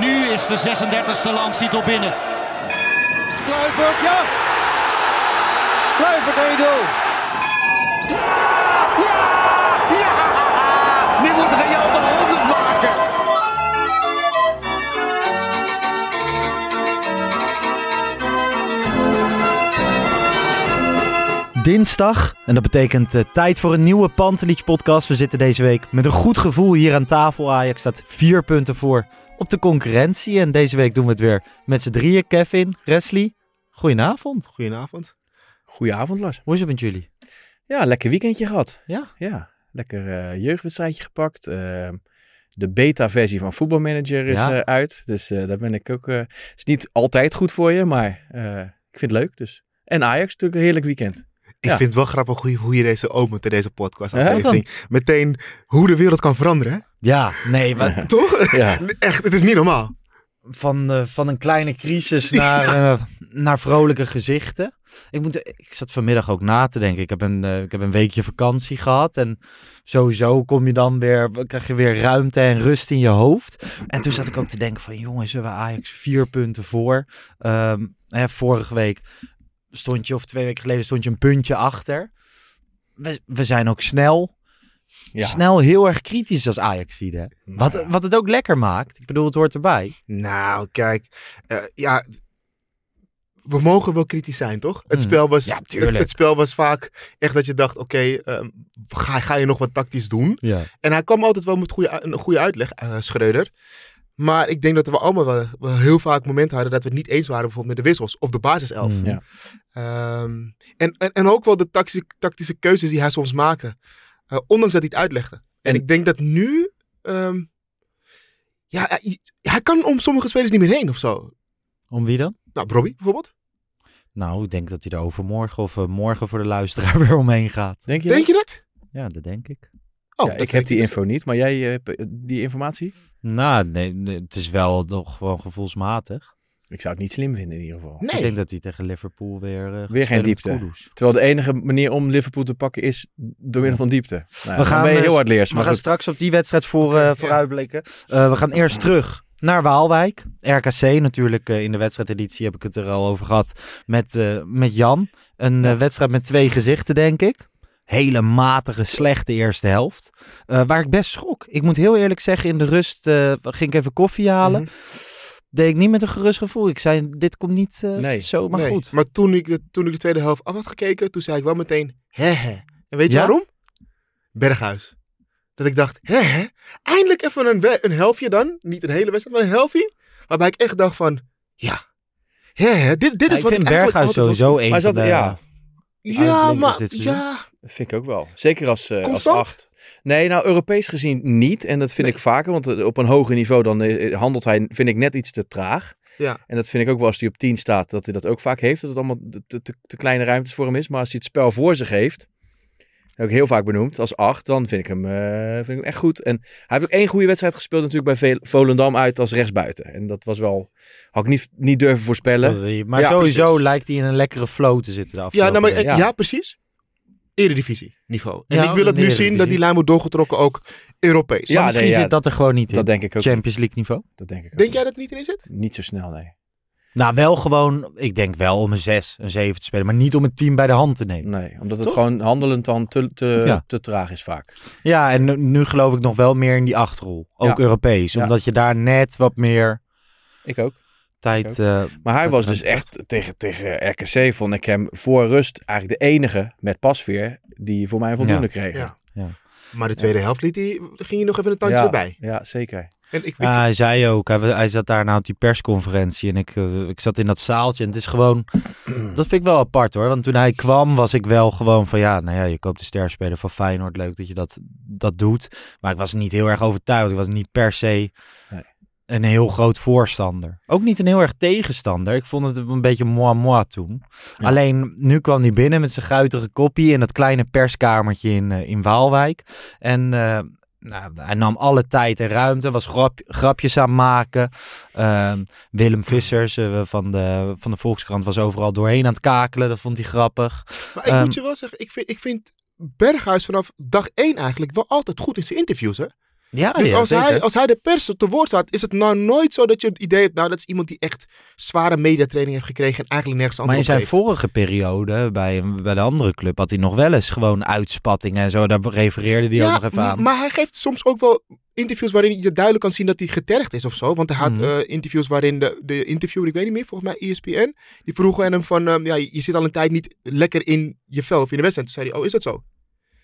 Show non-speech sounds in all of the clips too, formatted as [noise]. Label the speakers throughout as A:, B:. A: nu is de 36e landstitel binnen.
B: Kluivert, ja! Kluivert 1-0.
C: Nu moet Real de 100 maken.
D: dinsdag. En dat betekent eh, tijd voor een nieuwe Pantelich podcast. We zitten deze week met een goed gevoel hier aan tafel. Ajax staat vier punten voor op de concurrentie. En deze week doen we het weer met z'n drieën. Kevin, Wesley, goedenavond.
E: Goedenavond. Goedenavond, Lars.
D: Hoe is het met jullie?
E: Ja, lekker weekendje gehad.
D: Ja?
E: Ja, lekker eh, jeugdwedstrijdje gepakt. Ehm, de beta-versie van Voetbalmanager is
D: Ja.
E: eh, uit. Dus eh, daar ben ik ook... eh, Het is niet altijd goed voor je, maar eh, ik vind het leuk dus. En Ajax natuurlijk een heerlijk weekend.
F: Ik
E: Ja.
F: vind het wel grappig hoe, je- hoe je deze opent in deze podcast
E: Ja,
F: aflevering. Meteen hoe de wereld kan veranderen, hè?
D: Ja, nee, [laughs] wa-
F: toch?
E: Ja.
F: Echt, het is niet normaal.
D: van, eh, van een kleine crisis naar, eh, naar vrolijke gezichten. Ik, moet, ik zat vanmiddag ook na te denken. Ik heb, een, eh, ik heb een weekje vakantie gehad. En sowieso kom je dan weer, krijg je weer ruimte en rust in je hoofd. En toen zat ik ook te denken van jongens, we hebben Ajax vier punten voor. Ehm, hè, vorige week stond je, of twee weken geleden stond je een puntje achter. We, we zijn ook snel
E: Ja.
D: snel heel erg kritisch als Ajax ziet. Wat, wat het ook lekker maakt. Ik bedoel, het hoort erbij.
F: Nou, kijk. eh, ja, we mogen wel kritisch zijn, toch? Het,
D: Hmm.
F: spel, was,
D: Ja,
F: het,
D: tuurlijk.
F: het spel was vaak echt dat je dacht, oké, ehm, ga, ga je nog wat tactisch doen?
D: Ja.
F: En hij kwam altijd wel met goede, u- een goede uitleg, eh Schreuder. Maar ik denk dat we allemaal wel, wel heel vaak momenten hadden dat we het niet eens waren bijvoorbeeld met de wissels of de basiself.
D: Mm.
E: Ja.
F: Ehm, en, en, en ook wel de tactische, tactische keuzes die hij soms maakte. Eh, ondanks dat hij het uitlegde. En,
E: En-
F: ik denk dat nu... ehm, ja, hij, hij kan om sommige spelers niet meer heen of zo.
D: Om wie dan?
F: Nou, Robbie bijvoorbeeld.
D: Nou, ik denk dat hij er overmorgen of eh, morgen voor de luisteraar [laughs] weer omheen gaat.
E: Denk je?
F: Denk je dat?
D: Ja, dat denk ik.
F: Oh,
E: Ja,
F: dat
E: ik
F: weet
E: heb die info niet, maar jij eh, hebt eh, die informatie?
D: Nou, nee, nee, het is wel toch gewoon gevoelsmatig.
E: Ik zou het niet slim vinden in ieder geval.
D: Ik denk
F: Nee.
D: dat hij tegen Liverpool weer... eh, gaat
E: geen
D: spelen met
E: diepte.
D: Kudus.
E: Terwijl de enige manier om Liverpool te pakken is door middel van diepte. Nou,
D: We
E: we
D: gaan,
E: gaan, ben je
D: eh,
E: heel hard leers.
D: We
E: Maar
D: gaan
E: goed.
D: straks op die wedstrijd voor, eh, vooruitblikken. Eh, we gaan eerst terug naar Waalwijk. RKC natuurlijk, eh, in de wedstrijdeditie heb ik het er al over gehad met, eh, met Jan. Een eh, wedstrijd met twee gezichten, denk ik. Hele matige, slechte eerste helft. Eh, waar ik best schrok. Ik moet heel eerlijk zeggen, in de rust eh, ging ik even koffie halen. Deed ik niet met een gerust gevoel. Ik zei, dit komt niet eh,
E: Nee.
D: zo, maar
F: Nee.
D: goed.
F: Maar toen ik, de, toen ik de tweede helft af had gekeken, toen zei ik wel meteen... hè hè. En weet
D: Ja?
F: je waarom? Berghuis. Dat ik dacht, hè hè. Eindelijk even een, we- een helftje dan. Niet een hele wedstrijd, maar een helftje. Waarbij ik echt dacht van, ja. hè hè. Dit, dit
D: Ja,
F: is
D: ik
F: wat
D: vind
F: eigenlijk
D: Berghuis
F: altijd wil
D: sowieso een
E: Maar
D: van
E: zat,
D: de...
E: ja,
F: Ja,
D: uitblinkers
F: maar
D: dit seizoen.
F: ja,
E: Vind ik ook wel. Zeker als, eh als
F: Constant?
E: acht. Nee, nou Europees gezien niet. En dat vind ik vaker. Want eh, op een hoger niveau dan eh, handelt hij, vind ik, net iets te traag.
F: Ja.
E: En dat vind ik ook wel als hij op 10 staat. Dat hij dat ook vaak heeft. Dat het allemaal te, te, te kleine ruimtes voor hem is. Maar als hij het spel voor zich heeft. Heb ik heel vaak benoemd. Als acht. Dan vind ik hem, eh, vind ik hem echt goed. En hij heeft ook één goede wedstrijd gespeeld. Natuurlijk bij Ve- Volendam uit als rechtsbuiten. En dat was wel... Had ik niet, niet durven voorspellen.
D: Maar
E: Ja,
D: sowieso
E: precies.
D: lijkt hij in een lekkere flow te zitten de
F: ja,
D: afgelopen
F: nou, maar,
D: week.
F: ja.
E: ja.
F: precies. Eredivisie niveau. En
D: Ja,
F: ik wil het
D: de
F: nu zien dat
D: Eredivisie.
F: die lijn wordt doorgetrokken ook Europees.
E: Ja,
D: Ja, misschien
E: nee, ja,
D: zit dat er gewoon niet in.
E: Dat denk ik ook
D: Champions League niveau.
E: niet. Dat denk ik ook
F: Denk
E: niet.
F: jij dat er niet in zit?
E: Niet zo snel, nee.
D: Nou, wel gewoon, ik denk wel om een 6, een 7 te spelen, maar niet om het team bij de hand te nemen.
E: Nee, omdat het
D: Toch?
E: gewoon handelend dan te, te,
D: Ja.
E: te traag is vaak.
D: Ja, en nu, nu geloof ik nog wel meer in die achterrol. Ook
E: Mm. Ja.
D: Europees,
E: Ja.
D: omdat je daar net wat meer
E: Ik ook.
D: tijd...
E: Ook.
D: eh,
E: Maar hij
D: Dat
E: was
D: was
E: dus
D: het.
E: echt tegen, tegen RKC vond ik hem voor rust eigenlijk de enige met pasveer die voor mij een voldoende kreeg.
F: Ja.
E: Ja.
F: Maar de tweede helft liet die, ging je nog even een tandje
E: Ja.
F: erbij.
E: zeker.
F: En ik,
D: ja, hij zei ook, hij, wa- hij zat daarna op die persconferentie en ik, eh, ik zat in dat zaaltje en het is gewoon... dat vind ik wel apart hoor, want toen hij kwam was ik wel gewoon van ja, nou ja, je koopt de sterspeler van Feyenoord, leuk dat je dat, dat doet. Maar ik was niet heel erg overtuigd, ik was niet per se...
E: Nee.
D: een heel groot voorstander. Ook niet een heel erg tegenstander. Ik vond het een beetje moi-moi toen. Alleen nu kwam hij binnen met zijn guitige koppie in dat kleine perskamertje in, eh, in Waalwijk. En eh, nou, hij nam alle tijd en ruimte, was grap, grapjes aan het maken. Ehm, Willem Vissers eh, van, de, van de Volkskrant was overal doorheen aan het kakelen. Dat vond hij grappig.
F: Maar ik
D: Ehm,
F: moet je wel zeggen, ik vind, ik vind Berghuis vanaf dag één eigenlijk wel altijd goed in zijn interviews. Hè?
D: Ja,
F: Dus
D: Ah, ja
F: als,
D: zeker.
F: hij, als hij de pers te woord staat, is het nou nooit zo dat je het idee hebt, nou dat is iemand die echt zware mediatraining heeft gekregen en eigenlijk nergens
D: Maar in
F: anders
D: zijn vorige periode bij, bij de andere club had hij nog wel eens gewoon uitspattingen en zo. Daar refereerde hij ook nog even aan.
F: Maar hij geeft soms ook wel interviews waarin je duidelijk kan zien dat hij getergd is of zo. Want hij had
D: Mhm.
F: eh, interviews waarin de, de interviewer, ik weet niet meer, volgens mij E ESPN, die vroegen aan hem van, ehm, ja, je zit al een tijd niet lekker in je vel of in de wedstrijd. Toen zei hij, oh, is dat zo?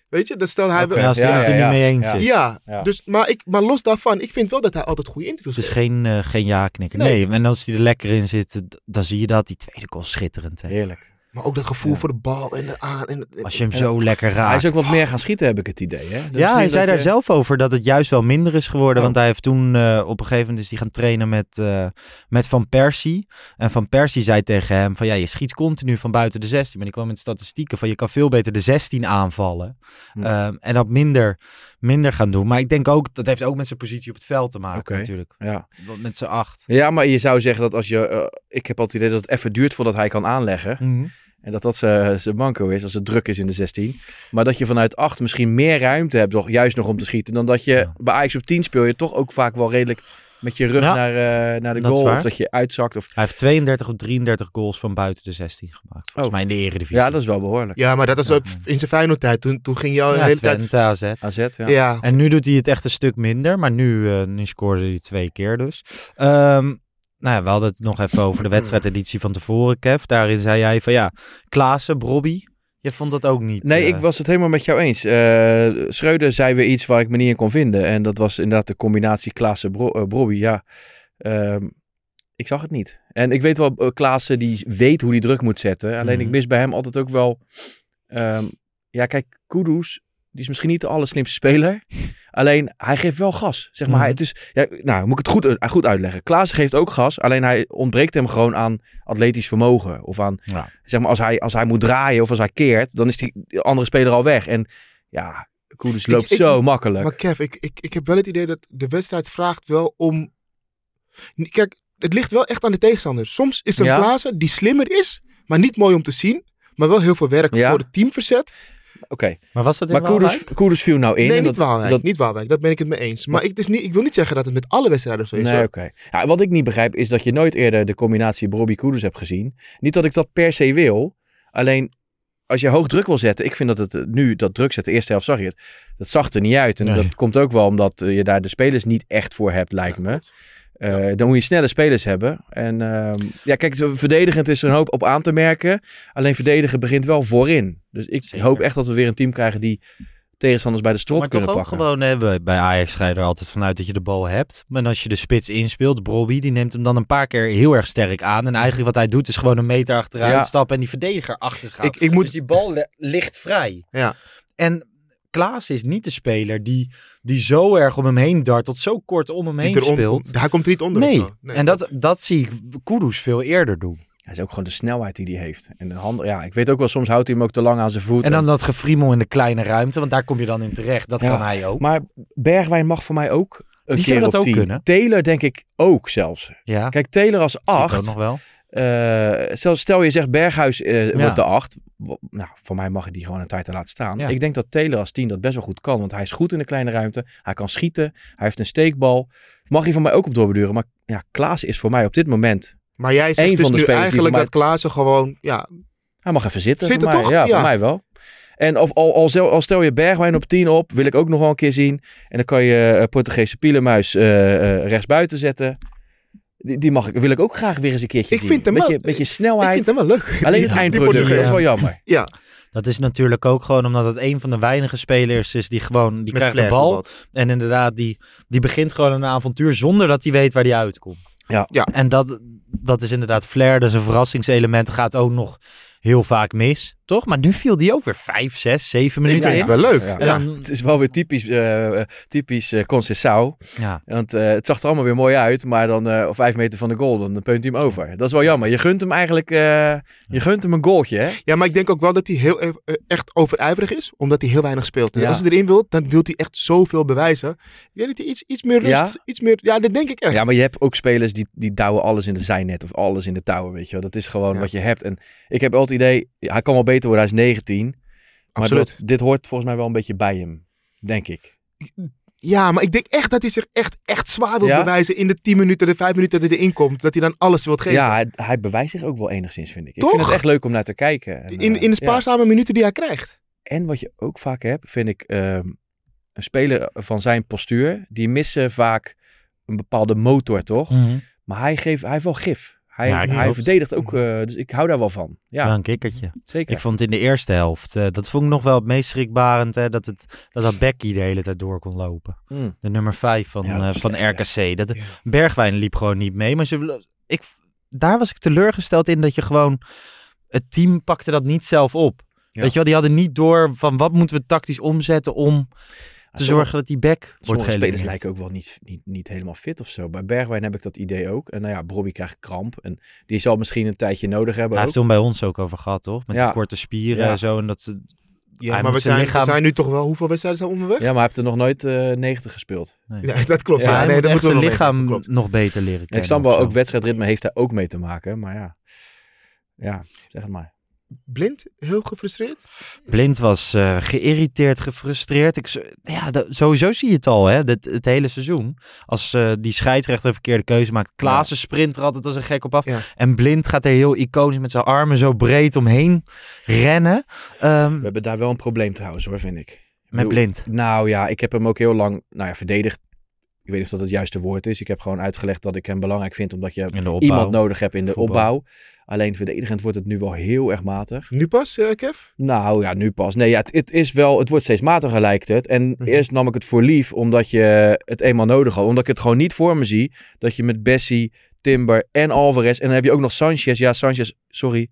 F: Weet je, dan stel hij...
E: Oké.
D: Ja, als hij
E: Ja,
D: het er
E: ja,
D: niet
E: ja.
D: mee eens
E: Ja.
D: is.
F: Ja,
E: Ja.
F: Dus, maar, ik, maar los daarvan, ik vind wel dat hij altijd goede interviews
D: Het is
F: geeft.
D: geen, eh, geen ja-knikker. Nee. en als hij er lekker in zit, d- dan zie je dat. Die tweede goal is schitterend. Hè?
E: Heerlijk.
F: Maar ook dat gevoel voor de bal en de aan. En de-
D: Als je hem zo lekker raakt.
E: Hij is ook wat meer gaan schieten, heb ik het idee. Hè? Dat is niet
D: ja, hij
E: Dus dat
D: zei daar
E: je-
D: zelf over dat het juist wel minder is geworden.
E: Oh.
D: Want hij heeft toen eh, op een gegeven moment is hij gaan trainen met, eh, met Van Persie. En Van Persie zei tegen hem van ja, je schiet continu van buiten de 16. Maar die kwam met statistieken van je kan veel beter de 16 aanvallen.
E: Hm.
D: Ehm, en dat minder, minder gaan doen. Maar ik denk ook, dat heeft ook met zijn positie op het veld te maken
E: Oké.
D: natuurlijk.
E: Ja.
D: Want Met zijn acht.
E: ja, maar je zou zeggen dat als je... eh, ik heb altijd het idee dat het even duurt voordat hij kan
D: Mhm.
E: aanleggen. En dat dat zijn zijn manco is als het druk is in de 16. Maar dat je vanuit 8 misschien meer ruimte hebt, toch, juist nog om te schieten. Dan dat je
D: Ja.
E: bij Ajax op 10 speel je toch ook vaak wel redelijk met je rug
D: Ja.
E: naar, eh, naar de
D: Dat is
E: goal. Of
D: waar.
E: dat je uitzakt. Of...
D: Hij heeft 32 of 33 goals van buiten de 16 gemaakt. Volgens mij
E: Oh.
D: in de eredivisie.
E: Ja, dat is wel behoorlijk.
F: Ja, maar dat was ook in zijn Feyenoord-tijd. Toen, toen ging je al de
D: ja,
F: hele tijd...
D: Twente, AZ.
E: AZ, ja.
F: Ja,
D: En nu doet hij het echt een stuk minder. Maar nu, eh, nu scoorde hij twee keer dus. Ehm, nou ja, we hadden het nog even over de wedstrijdeditie van tevoren, Kev. Daarin zei jij van ja, Klaassen, Brobby. Je vond dat ook niet.
E: Nee,
D: eh,
E: ik was het helemaal met jou eens. Eh, Schreuder zei weer iets waar ik me niet in kon vinden. En dat was inderdaad de combinatie Klaassen Bro eh, Brobby. Ja, Ehm, ik zag het niet. En ik weet wel, eh, Klaassen die weet hoe hij druk moet zetten. Alleen ik
D: Mhm.
E: mis bij hem altijd ook wel... ehm, ja, kijk, Kudus, die is misschien niet de allerslimste speler.
D: [laughs]
E: Alleen, hij geeft wel gas. Zeg maar,
D: Mhm.
E: hij, het is, ja, nou, moet ik het goed, eh, goed uitleggen. Klaassen geeft ook gas. Alleen hij ontbreekt hem gewoon aan atletisch vermogen. Of aan
D: Ja.
E: zeg maar, als hij, als hij moet draaien of als hij keert, dan is die andere speler al weg. En ja, Koeders loopt
F: ik-
E: zo makkelijk.
F: maar Kev, ik, ik, ik heb wel het idee dat de wedstrijd vraagt wel om... Kijk, het ligt wel echt aan de tegenstander. Soms is er een
E: Ja.
F: Klaassen die slimmer is, maar niet mooi om te zien. Maar wel heel veel werk
E: Ja.
F: voor het team verzet.
E: Oké,
D: Maar was dat in
E: maar Koeders,
D: Waalwijk?
E: Koeders viel nou in.
F: nee,
E: en
F: niet
E: dat,
F: Waalwijk.
E: dat-
F: niet Waalwijk. Dat ben ik het mee eens. Maar ik, dus niet, ik wil niet zeggen dat het met alle wedstrijden zo is.
E: Nee,
F: hoor.
E: oké. Ja, wat ik niet begrijp is dat je nooit eerder de combinatie Bobby Koeders hebt gezien. Niet dat ik dat per se wil. Alleen als je hoog druk wil zetten, ik vind dat het eh, nu dat druk zetten, de eerste helft zag je het, dat zag er niet uit. En
D: Nee.
E: dat komt ook wel omdat eh, je daar de spelers niet echt voor hebt, lijkt me. Eh, Dan moet je snelle spelers hebben. En ehm, ja, kijk, zo verdedigend is er een hoop op aan te merken. Alleen verdedigen begint wel voorin. Dus ik
D: Zeker.
E: hoop echt dat we weer een team krijgen die tegenstanders bij de strot
D: maar
E: kunnen
D: toch ook
E: pakken.
D: gewoon, hè, we- bij Ajax ga je er altijd vanuit dat je de bal hebt. Maar als je de spits inspeelt, Brobby, die neemt hem dan een paar keer heel erg sterk aan. En eigenlijk wat hij doet is gewoon een meter achteruit
E: Ja.
D: stappen en die verdediger achter zich
F: Ik, ik moet
D: Dus die bal le- ligt vrij.
F: Ja.
D: En Klaas is niet de speler die, die zo erg om hem heen dartelt, zo kort om hem heen
F: erom-
D: speelt.
F: Hij komt er niet onder.
D: Nee.
F: of zo.
D: en dat, dat zie ik Kudus veel eerder doen.
E: Hij is ook gewoon de snelheid die hij heeft. En de handen, ja, ik weet ook wel, soms houdt hij hem ook te lang aan zijn voet.
D: En dan dat gefriemel in de kleine ruimte, want daar kom je dan in terecht. Dat
E: Ja.
D: kan hij ook.
E: Maar Bergwijn mag voor mij ook een
D: Die
E: keer
D: zou dat
E: op
D: ook
E: 10.
D: kunnen.
E: Taylor denk ik ook zelfs.
D: ja,
E: Kijk, Taylor als
D: dat zie ik ook
E: 8.
D: nog wel.
E: eh, stel, stel je zegt Berghuis eh,
D: Ja.
E: wordt de 8. Nou, voor mij mag hij die gewoon een tijd te laten staan.
D: Ja.
E: Ik denk dat Taylor als 10 dat best wel goed kan. Want hij is goed in de kleine ruimte. Hij kan schieten. Hij heeft een steekbal. Mag hij van mij ook op doorbeduren. Maar ja, Klaas is voor mij op dit moment.
F: Maar jij zegt
E: Eén
F: dus
E: van de
F: nu
E: spelers die
F: eigenlijk
E: voor mij-
F: dat Klaassen gewoon... Ja,
E: Hij mag even zitten.
F: Zitten
E: voor mij.
F: toch?
E: Ja,
F: Ja.
E: voor mij wel. En of, al, al, stel, al stel je Bergwijn op 10 op, wil ik ook nog wel een keer zien. En dan kan je eh, Portugese Pielenmuis eh, eh, rechtsbuiten zetten. Die, die mag ik, wil ik ook graag weer eens een keertje
F: Ik
E: zien.
F: vind hem
E: beetje,
F: wel-
E: beetje
F: ik
E: snelheid.
F: vind hem wel leuk.
E: Alleen
F: Die-
E: het
F: die
E: eindproduct
F: Portugees.
E: is wel jammer.
F: Ja,
D: Dat is natuurlijk ook gewoon omdat het een van de weinige spelers is die gewoon, die krijgt de bal. En inderdaad, die, die begint gewoon een avontuur zonder dat hij weet waar hij uitkomt.
E: Ja.
F: Ja.
D: En dat, dat is inderdaad flair, dat is een verrassingselement. Gaat ook nog heel vaak mis, toch? Maar nu viel die ook weer 5, 6, 7
F: Ik
D: minuten
F: vind
D: in.
F: het wel leuk.
E: Ja.
F: Ja.
D: En dan-
E: Het is wel weer typisch, eh eh, typisch eh Conceição.
D: ja.
E: Want eh, het zag er allemaal weer mooi uit, maar dan eh, op vijf meter van de goal, dan peunt hij hem over. Dat is wel jammer. Je gunt hem eigenlijk, eh, je gunt hem een goaltje, hè?
F: Ja, maar ik denk ook wel dat hij heel ev- eh, echt overijverig is, omdat hij heel weinig speelt. Dus
E: Ja.
F: als hij erin wil, dan wil hij echt zoveel bewijzen. Ik denk dat hij iets, iets meer rust,
E: Ja?
F: iets meer... Ja, dat denk ik echt.
E: [laughs] Ja, maar je hebt ook spelers die, die douwen alles in de zijnet of alles in de touwen, weet je wel. Dat is gewoon
F: Ja.
E: wat je hebt. En ik heb altijd het idee, hij kan wel beter worden, hij is 19. Maar
F: Absoluut.
E: dat- dit hoort volgens mij wel een beetje bij hem, denk ik.
F: Ja, maar ik denk echt dat hij zich echt, echt zwaar wil
E: Ja?
F: bewijzen in de 10 minuten, de 5 minuten dat hij erin komt. Dat hij dan alles wil geven.
E: Ja, hij, hij bewijst zich ook wel enigszins, vind ik. Ik
F: Toch?
E: vind het echt leuk om naar te kijken. En,
F: in,
E: eh,
F: in de
E: ja.
F: spaarzame minuten die hij krijgt.
E: En wat je ook vaak hebt, vind ik ehm, een speler van zijn postuur. Die missen vaak een bepaalde motor, toch?
D: Mhm.
E: Maar hij, geeft, hij heeft wel gif. Hij,
D: Ja,
E: hij
D: klopt.
E: verdedigt ook, eh, dus ik hou daar wel van. Ja,
D: Wel een kikkertje.
E: zeker.
D: Ik vond in de eerste helft, eh, dat vond ik nog wel het meest schrikbarend, hè, dat, het, dat dat Becky de hele tijd door kon lopen.
E: Mm.
D: De nummer 5 van,
E: Ja, dat
D: eh,
E: was
D: van
E: slecht,
D: RKC. Dat, Bergwijn liep gewoon niet mee, maar ze, ik, daar was ik teleurgesteld in dat je gewoon, het team pakte dat niet zelf op.
E: Ja.
D: Weet je wel, die hadden niet door van wat moeten we tactisch omzetten om te
E: sommige-
D: zorgen dat die back wordt
E: Sommige spelers
D: geëlimineerd.
E: lijken ook wel niet, niet, niet helemaal fit of zo. Bij Bergwijn heb ik dat idee ook. En nou ja, Bobby krijgt kramp. En die zal misschien een tijdje nodig hebben
D: Daar heeft
E: ook.
D: het toen bij ons ook over gehad, toch? Met
E: Ja.
D: die korte spieren
E: Ja.
D: en zo. En dat ze,
F: Ja,
D: Hij
F: maar
D: moet
F: we
D: zijn
F: zijn,
D: lichaam-
F: we zijn nu toch wel... Hoeveel wedstrijden zijn onderweg?
E: Ja, maar hij heeft er nog nooit eh 90 gespeeld.
F: Ja, dat klopt.
E: Ja,
F: Ja,
D: Maar hij
F: nee,
D: moet
F: dat
D: echt zijn
F: moeten we nog weten, dat
D: lichaam
F: klopt.
D: nog beter leren
E: En ik
D: kennen.
E: snap wel,
D: of zo.
E: ook wedstrijdritme heeft daar ook mee te maken. Maar ja, ja zeg het maar.
F: Blind, heel gefrustreerd.
D: Blind was eh, geïrriteerd, gefrustreerd. Ik, z- ja, dat- sowieso zie je het al, hè? Dit, het hele seizoen. Als eh, die scheidsrechter een verkeerde keuze maakt. Klaassen sprint er altijd als een gek op af.
F: Ja.
D: En Blind gaat er heel iconisch met zijn armen zo breed omheen rennen. Ehm,
E: We hebben daar wel een probleem trouwens hoor, vind ik. Ik
D: met
E: bedoel,
D: Blind.
E: Nou ja, ik heb hem ook heel lang nou ja, verdedigd. Ik weet niet of dat het juiste woord is. Ik heb gewoon uitgelegd dat ik hem belangrijk vind. Omdat je
D: In de opbouw.
E: iemand nodig hebt in de
D: Voetbal.
E: opbouw. Alleen verdedigend wordt het nu wel heel erg matig.
F: Nu pas, eh, Kev?
E: Nou ja, nu pas. Nee, ja, het, het is wel, het wordt steeds matiger lijkt het. En
F: Mhm.
E: eerst nam ik het voor lief omdat je het eenmaal nodig had. Omdat ik het gewoon niet voor me zie dat je met Bessie, Timber en Alvarez... En dan heb je ook nog Sanchez. Ja, Sanchez, sorry.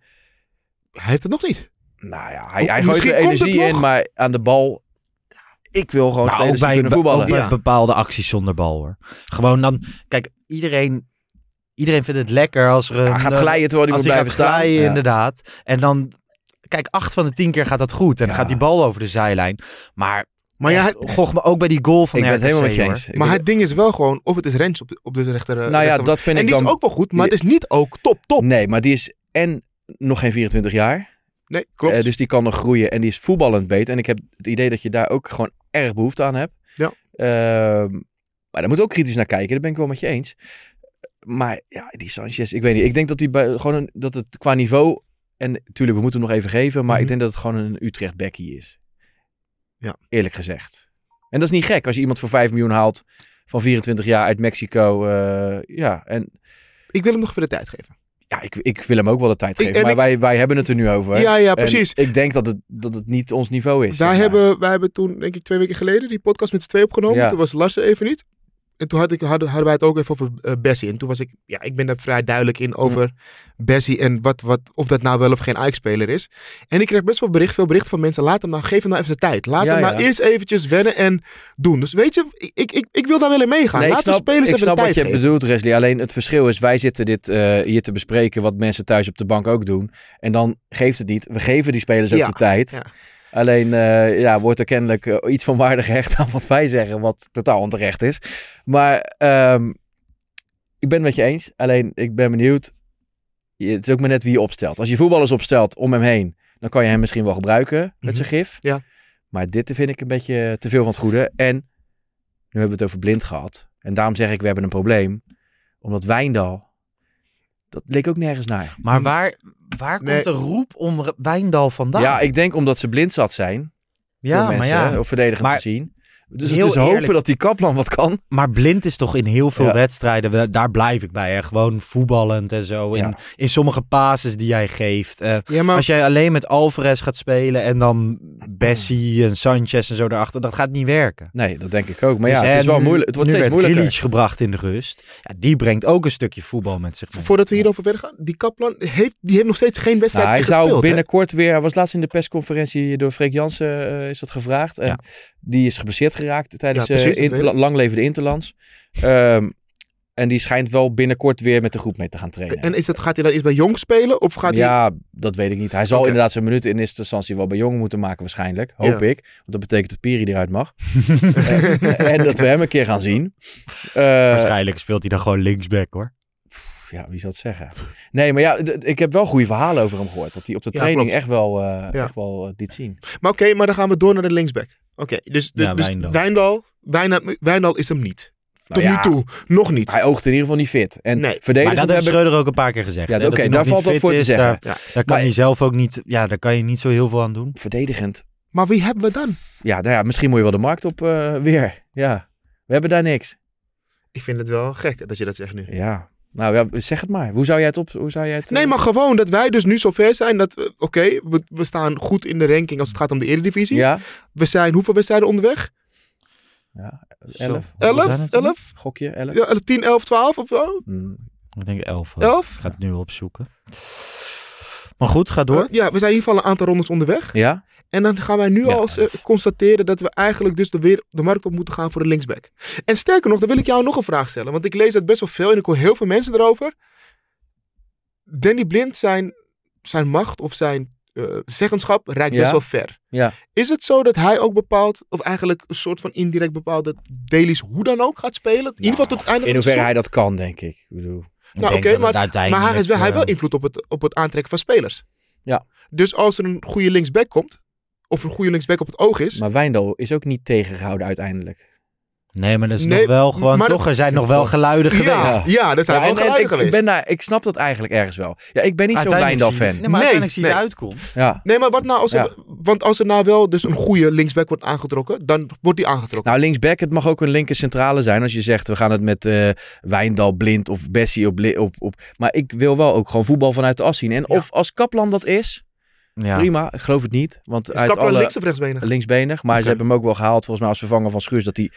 F: Hij heeft het nog niet.
E: Nou ja, hij, hij
F: Oh, Misschien
E: gooit er
F: komt het
E: energie in,
F: nog.
E: maar aan de bal... Ik wil gewoon
D: Nou,
E: spelers
D: ook
E: die
D: bij,
E: kunnen voetballen.
D: ook bij
F: Ja.
D: bepaalde acties zonder bal hoor. Gewoon dan, kijk, iedereen, iedereen vindt het lekker als er een,
E: Hij gaat
D: eh,
E: glijden terwijl hij
D: als
E: moet
D: die
E: blijven
D: gaat
E: staan.
D: glijden,
E: Ja.
D: inderdaad. En dan, kijk, acht van de tien keer gaat dat goed. En dan
E: Ja.
D: gaat die bal over de zijlijn. Maar,
F: Maar, ja,
D: echt,
F: het-
D: goch, maar ook bij die goal van
E: Ik ben het
D: RKC,
E: helemaal met je
D: hoor.
E: eens. Ik
F: maar
E: bedoel-
F: het ding is wel gewoon, of het is Rens op, op de rechter... eh,
E: nou ja,
F: rechter-
E: dat vind
F: en
E: ik
F: die
E: dan...
F: is ook wel goed, maar het is niet ook top, top.
E: Nee, maar die is en nog geen 24 jaar.
F: Nee, klopt.
E: Eh, dus die kan nog groeien en die is voetballend beter. En ik heb het idee dat je daar ook gewoon erg behoefte aan hebt.
F: Ja.
E: Ehm, maar daar moet je ook kritisch naar kijken. Daar ben ik wel met je eens. Maar ja, die Sanchez, ik weet niet. Ik denk dat, die bij, gewoon een- dat het qua niveau... En natuurlijk, we moeten hem nog even geven. Maar ik
F: Mhm.
E: denk dat het gewoon een utrecht bekkie is.
F: Ja.
E: Eerlijk gezegd. En dat is niet gek als je iemand voor 5 miljoen haalt van 24 jaar uit Mexico. eh, ja, en
F: Ik wil hem nog even de tijd geven.
E: ja, ik, ik wil hem ook wel de tijd
F: Ik-
E: geven.
F: en
E: maar
F: ik-
E: wij, wij hebben het er nu over.
F: Ja, ja,
E: En
F: precies.
E: ik denk dat het, dat het niet ons niveau is. zeg
F: Daar
E: maar.
F: hebben, wij hebben toen, denk ik, twee weken geleden die podcast met z'n twee opgenomen.
E: Ja.
F: Toen was Lars er even niet. En toen had ik, hadden, hadden wij het ook even over eh, Bessie. En toen was ik, ja, ik ben daar vrij duidelijk in over Bessie en wat, wat, of dat nou wel of geen Ajax-speler is. En ik kreeg best wel bericht, veel berichten van mensen. Laat hem nou, geef hem nou even de tijd. Laat
E: Ja,
F: hem nou
E: ja.
F: eerst eventjes wennen en doen. Dus weet je, ik, ik, ik, ik wil daar wel in meegaan.
E: Nee, ik
F: Laat
E: snap,
F: de spelers
E: ik
F: even
E: snap
F: de tijd
E: wat je
F: geven.
E: bedoelt, Wesley. Alleen het verschil is, wij zitten dit eh, hier te bespreken, wat mensen thuis op de bank ook doen. En dan geeft het niet. We geven die spelers ook
F: Ja,
E: de tijd.
F: ja.
E: Alleen eh, ja, wordt er kennelijk eh, iets van waarde gehecht aan wat wij zeggen, wat totaal onterecht is. Maar ehm, ik ben het met je eens. Alleen ik ben benieuwd. Je- Het is ook maar net wie je opstelt. Als je voetballers opstelt om hem heen, dan kan je hem misschien wel gebruiken met
F: Mhm.
E: zijn gif.
F: Ja.
E: Maar dit vind ik een beetje te veel van het goede. En nu hebben we het over blind gehad. En daarom zeg ik, we hebben een probleem. Omdat Wijndal, dat leek ook nergens naar.
D: Maar waar, waar
F: Nee.
D: komt de roep om R- Wijndal vandaan?
E: Ja, ik denk omdat ze blind zat zijn. Ja,
D: Ja, maar
E: mensen,
D: ja.
E: Of verdedigend
D: Maar-
E: gezien. Dus
D: Heel
E: het is hopen
D: eerlijk.
E: dat die Kaplan wat kan.
D: Maar blind is toch in heel veel
E: Ja.
D: wedstrijden, we- daar blijf ik bij. Hè? Gewoon voetballend en zo. In,
E: Ja.
D: in sommige pases die jij geeft. Eh,
F: Ja, maar
D: als jij alleen met Alvarez gaat spelen en dan Bessie en Sanchez en zo daarachter, dat gaat niet werken.
E: Nee, dat denk ik ook. Maar
D: Dus,
E: ja,
D: hè,
E: het is wel
D: nu-
E: moeilijk. Het wordt
D: nu
E: steeds
D: werd
E: moeilijker.
D: Grealish gebracht in de rust. Ja, die brengt ook een stukje voetbal met zich mee.
F: voordat we hierover verder gaan, die Kaplan heeft, die heeft nog steeds geen wedstrijd
E: Nou, hij
F: gespeeld.
E: zou
F: hè?
E: binnenkort weer. Hij was laatst in de persconferentie door Freek Jansen eh, is dat gevraagd. En
D: Ja.
E: die is geblesseerd geraakt tijdens
F: Ja,
E: eh,
F: precies, dat
E: interla-
F: weet
E: langlevende Interlands. Ehm, en die schijnt wel binnenkort weer met de groep mee te gaan trainen.
F: En is dat, gaat hij dan iets bij Jong spelen? Of gaat hij...
E: ja, dat weet ik niet. Hij zal
F: Oké.
E: inderdaad zijn minuten in eerste instantie wel bij jongen moeten maken waarschijnlijk. Hoop ik. Want dat betekent dat Piri eruit
F: [laughs]
E: mag. Eh, en dat we hem een keer gaan zien. Eh,
D: Waarschijnlijk speelt hij dan gewoon linksback hoor.
E: ja, wie zou het zeggen? Nee, maar ja, d- ik heb wel goede verhalen over hem gehoord. Dat hij op de
F: Ja,
E: training
F: klopt.
E: echt wel, eh,
F: Ja.
E: echt wel eh, liet zien.
F: Maar oké, maar dan gaan we door naar de linksback. Oké, dus, dus,
D: Ja,
F: dus
D: Wijndal.
F: Wijndal, Wijna- Wijndal is hem niet.
E: Nou
F: Tot
E: ja,
F: nu toe. Nog niet.
E: Hij oogt in ieder geval niet fit. En
F: Nee.
D: Maar
E: verdedigend
D: dat heeft
E: hebben...
D: Schreuder ook een paar keer gezegd.
E: Ja,
D: hè, dat
E: oké,
D: hij nog
E: daar
D: niet
E: valt wat
D: fit
E: voor te
D: is, eh.
E: zeggen.
D: Daar,
F: Ja.
D: daar kan
E: Maar-
D: je zelf ook niet, ja, daar kan je niet zo heel veel aan doen.
E: Verdedigend.
F: Maar wie hebben we dan?
E: Ja, nou ja, misschien moet je wel de markt op eh, weer. Ja, we hebben daar niks.
F: Ik vind het wel gek dat je dat zegt nu.
E: Ja, nou ja, zeg het maar. Hoe zou jij het op... Hoe zou jij het, eh,
F: Nee, maar gewoon dat wij dus nu zover zijn dat, we- oké, we, we staan goed in de ranking als het gaat om de Eredivisie.
E: Ja,
F: We zijn hoeveel wedstrijden onderweg?
E: elf.
D: Hoeveel zijn
F: 11?
D: het er?
F: 11?
E: Gokje, elf.
F: Ja, 10, 11, 12 of zo?
E: Mm,
D: Ik denk elf. hoor.
F: 11?
D: Ik ga het nu opzoeken. Maar goed, ga door.
F: Ja, we zijn in ieder geval een aantal rondes onderweg.
E: Ja,
F: En dan gaan wij nu
D: Ja,
F: al eens, eh, constateren dat we eigenlijk dus de, weer, de markt op moeten gaan voor de linksback. En sterker nog, dan wil ik jou nog een vraag stellen. Want ik lees dat best wel veel en ik hoor heel veel mensen erover. Danny Blind, zijn, zijn macht of zijn eh, zeggenschap reikt
E: Ja.
F: best wel ver.
E: Ja.
F: Is het zo dat hij ook bepaalt, of eigenlijk een soort van indirect bepaalt, dat Daly's hoe dan ook gaat spelen? In ieder geval tot het
E: in
F: einde van het
E: hoeverre hij dat kan, denk ik. Ik bedoel...
D: Ik
F: Nou,
D: denk
F: oké,
D: dat het
F: seizoen. Maar hij, is wel, hij
D: uiteindelijk,
F: heeft
D: eh,
F: wel invloed op het, op het aantrekken van spelers.
E: eh, Ja.
F: Dus als er een goede linksback komt, of een goede linksback op het oog is,
E: Maar Wijndal is ook niet tegengehouden uiteindelijk.
D: eh, Nee, maar dat is
F: Nee,
D: nog wel gewoon...
F: maar
D: Toch,
F: dat-
D: er zijn nog wel geluiden
F: Ja,
D: geweest.
F: ja, daar zijn
E: Ja,
F: wel
E: en- en
F: geluiden
E: ik,
F: geweest.
E: ik, ben daar, ik snap dat eigenlijk ergens wel. Ja, ik ben niet zo'n Wijndal-fan.
D: Nee, maar
F: Nee,
D: uiteindelijk zie je
F: nee.
D: de uitkomst.
E: Ja.
F: Nee, maar wat nou als
E: Ja.
F: er, want als er nou wel dus een goede linksback wordt aangetrokken, dan wordt die aangetrokken.
E: Nou, linksback, het mag ook een linker centrale zijn. Als je zegt, we gaan het met eh, Wijndal, Blind of Bessie op, li- op, op... Maar ik wil wel ook gewoon voetbal vanuit de as zien. En of als Kaplan dat is,
D: Ja.
E: prima. Ik geloof het niet. Want
F: is
E: uit
F: Kaplan
E: alle
F: links of rechtsbenig?
E: linksbenig. Maar
F: Oké.
E: ze hebben hem ook wel gehaald, volgens mij, als vervanger van Schuurs. Dat hij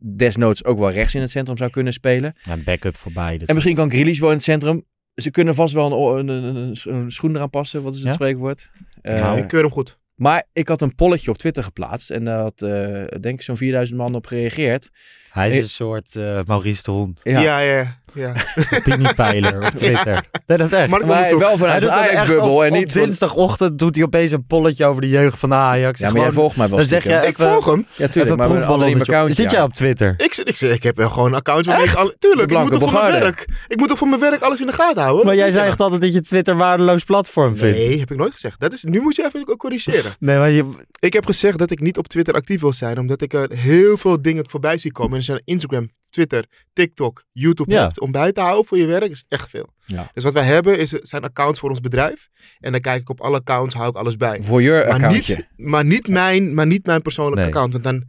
E: desnoods ook wel rechts in het centrum zou kunnen spelen.
D: Ja, backup voor beide.
E: En misschien kan Grealish wel in het centrum. Ze kunnen vast wel een, o- een, een- een scho- een schoen eraan passen. Wat is het
D: Ja?
E: spreekwoord? Eh,
D: Nou,
F: Ik keur hem goed.
E: maar ik had een polletje op Twitter geplaatst. En daar had, eh, denk ik, zo'n 4000 man op gereageerd.
D: Hij is
E: Ik-
D: een soort eh, Maurice de Hond.
F: Ja, ja, ja.
E: [laughs]
F: ja. [laughs]
D: Opiniepeiler op Twitter. Nee, dat is echt.
F: Maar dat
E: Maar
F: onderzoek.
E: wel
D: Hij
E: vanuit
D: doet
E: de
D: dat echt op-
E: Ajax-bubbel en
D: op
E: niet van...
D: dinsdagochtend doet hij opeens een polletje over de jeugd van de Ajax.
E: Ja,
D: En
E: maar jij
D: gewoon-
E: volgt mij wel.
D: dan zeg
E: stiekem.
D: jij-
F: Ik volg hem.
E: Ja, tuurlijk, maar
D: Even
E: we
D: een
E: hebben een anoniem
D: proefballonnetje.
E: account.
D: Zit
E: ja.
D: jij op Twitter?
F: Ik, ik, ik, ik heb wel gewoon een account waarmee ik al,
E: De
F: Tuurlijk, ik moet
E: blanke
F: het voor mijn
E: Bulgaren.
F: werk. Ik moet het voor mijn werk alles in de gaten houden.
D: Maar jij zei echt altijd dat je Twitter waardeloos platform vindt.
F: Nee, heb ik nooit gezegd. Dat is, nu moet je even corrigeren.
D: Nee, maar je,
F: Ik heb gezegd dat ik niet op Twitter actief wil zijn, omdat ik er heel veel dingen voorbij zie komen. En er zijn Instagram, Twitter, TikTok, YouTube
D: Ja.
F: hebt. Om bij te houden voor je werk is echt veel.
E: Ja.
F: Dus wat wij hebben is, zijn accounts voor ons bedrijf. En dan kijk ik op alle accounts, hou ik alles bij.
E: Voor je
F: Maar
E: accountje.
F: niet, maar, niet mijn, maar niet mijn persoonlijke
D: Nee.
F: account, want dan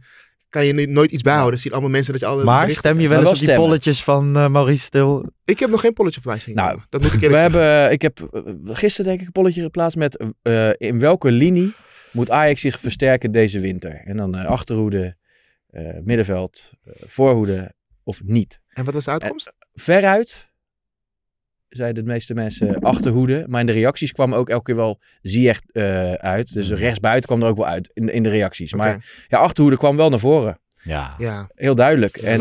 F: kan je niet- nooit iets bijhouden. Dan zien allemaal mensen dat je alle
D: maar
F: berichten-
D: stem je wel
E: Maar
D: eens
E: wel
D: op die
E: stemmen.
D: polletjes van eh, Maurice Stil?
F: Ik heb nog geen polletje voor mij zien.
E: Nou,
F: komen. dat moet
E: [laughs]
F: ik
E: We
F: eerlijk zeggen.
E: hebben, ik heb eh, gisteren denk ik een polletje geplaatst met eh, in welke linie moet Ajax zich versterken deze winter? En dan eh, achterhoede, eh, middenveld, eh, voorhoede of niet.
F: En wat was de
E: Eh,
F: uitkomst?
E: Veruit, zeiden de meeste mensen, achterhoede. Maar in de reacties kwam ook elke keer wel Ziyech eh uit. Dus rechtsbuiten kwam er ook wel uit in, in de reacties. Maar
F: Oké.
E: ja, achterhoede kwam wel naar voren.
D: Ja.
F: Ja,
E: Heel duidelijk. En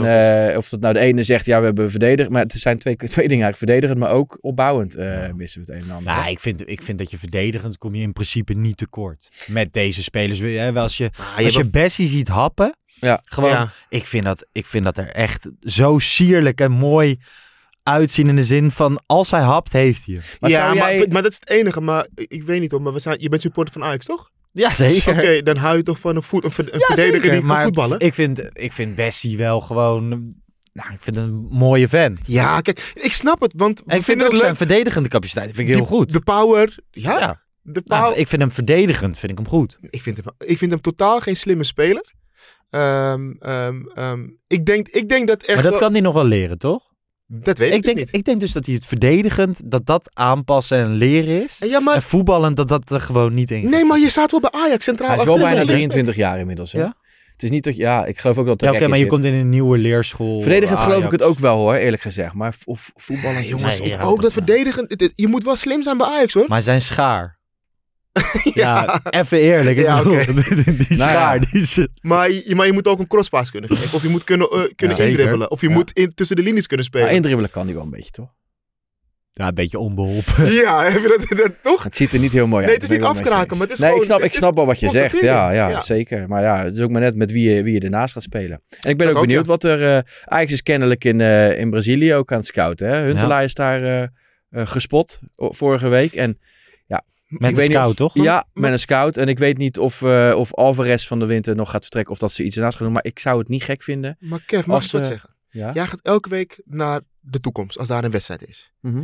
E: eh, of dat nou de ene zegt, ja, we hebben verdedigd. Maar het zijn twee, [laughs] twee dingen eigenlijk. Verdedigend, maar ook opbouwend eh, missen we het een en ander.
D: Nou, ik vind, ik vind dat je verdedigend kom je in principe niet tekort. Met deze spelers. Hè, als Ah, je,
F: Ah,
D: als je
F: hebt-
D: Bessie ziet happen.
E: Ja.
D: Gewoon,
F: Ja.
D: ik, vind dat, ik vind dat er echt zo sierlijk en mooi uitzien. In de zin van, als hij hapt, heeft hij hem.
E: Maar
F: ja,
E: zou
F: maar,
E: jij-
F: maar dat is het enige. Maar ik, ik weet niet hoor, maar we zijn, je bent supporter van Ajax, toch?
D: Ja,
F: Oké,
D: zeker.
F: dan hou je toch van een, voet, een, verd- een verdediger
D: zeker,
F: die kan
D: maar-
F: voetballen?
D: Ik vind, ik vind Bessie wel gewoon... Nou, ik vind hem een mooie vent.
F: Ja, kijk, ik snap het, want
D: En ik
F: we
D: vind
F: vinden
D: ook
F: het
D: zijn
F: leuk.
D: verdedigende capaciteit vind ik heel
F: Die-
D: goed.
F: De power, ja,
D: Ja.
F: de
D: Nou,
F: power.
D: ik vind hem verdedigend, vind ik hem goed.
F: ik, vind hem, ik vind hem totaal geen slimme speler. Ehm, ehm, ehm, ik, denk, ik denk dat echt...
D: Maar dat
F: wel-
D: kan hij nog wel leren, toch?
F: dat weet ik,
D: Ik
F: dus
D: denk,
F: niet.
D: ik denk dus dat hij het verdedigend, dat dat aanpassen en leren is.
F: En ja, maar,
D: En voetballend, dat dat er gewoon niet in gaat
F: nee, maar
D: zitten.
F: je staat wel bij Ajax centraal.
E: Hij is wel
F: achterin.
E: bijna 23 jaar inmiddels. Hè?
D: Ja?
E: Het is niet dat... Ja, ik geloof ook dat
D: Ja,
E: er
D: oké,
E: rek in
D: maar je
E: zit.
D: komt in een nieuwe leerschool.
E: Verdedigend
D: Ajax.
E: geloof ik het ook wel hoor, eerlijk gezegd. Maar v- of voetballen...
F: Nee, jongens,
D: Nee,
F: ook-
D: ja,
F: ook dat
D: dat-
F: verdedigen. het is- Je moet wel slim zijn bij Ajax, hoor.
D: Maar zijn schaar. ja.
F: [laughs] Ja.
D: even eerlijk. ik
F: Ja,
D: bedoel, [laughs]
F: oké.
D: die die
E: Nou ja.
D: schaar, die is...
F: Maar je, maar je moet ook een crosspaas kunnen geven. Of je moet kunnen, eh, kunnen
D: Zeker.
F: indribbelen. Of je
E: Ja.
F: moet in, tussen de linies kunnen
E: Maar
F: spelen.
E: indribbelen kan hij wel een beetje, toch?
D: Ja, een beetje onbeholpen.
F: [laughs] Ja, heb je dat, dat toch?
E: Het ziet er niet heel mooi uit.
F: Nee, het is
E: dat ben
F: niet
E: ik wel met je
F: afkraken, maar het
E: eens.
F: is
E: Nee,
F: gewoon-
E: ik snap,
F: het
E: ik
F: is
E: snap wel wat je zegt.
F: concentreren.
E: Ja, ja,
F: Ja.
E: zeker. Maar ja, het is ook maar net met wie je, wie je ernaast gaat spelen. En ik ben
F: Dat
E: ook
F: ook,
E: benieuwd
F: ja.
E: wat er... eh Ajax is kennelijk in, eh, in Brazilië ook aan het scouten. Hè? Huntelaar is daar eh, eh, gespot o- vorige week. En
D: Met
E: Ik
D: een
E: weet niet
D: scout, toch?
E: ja, met een scout. En ik weet niet of, eh, of Alvarez van de Winter nog gaat vertrekken. Of dat ze iets ernaast gaan doen. Maar ik zou het niet gek vinden.
F: Maar Kev, mag
E: Als,
F: ik wat
E: eh,
F: zeggen?
E: Ja.
F: Jij gaat elke week naar de toekomst, als daar een wedstrijd is.
E: Mhm.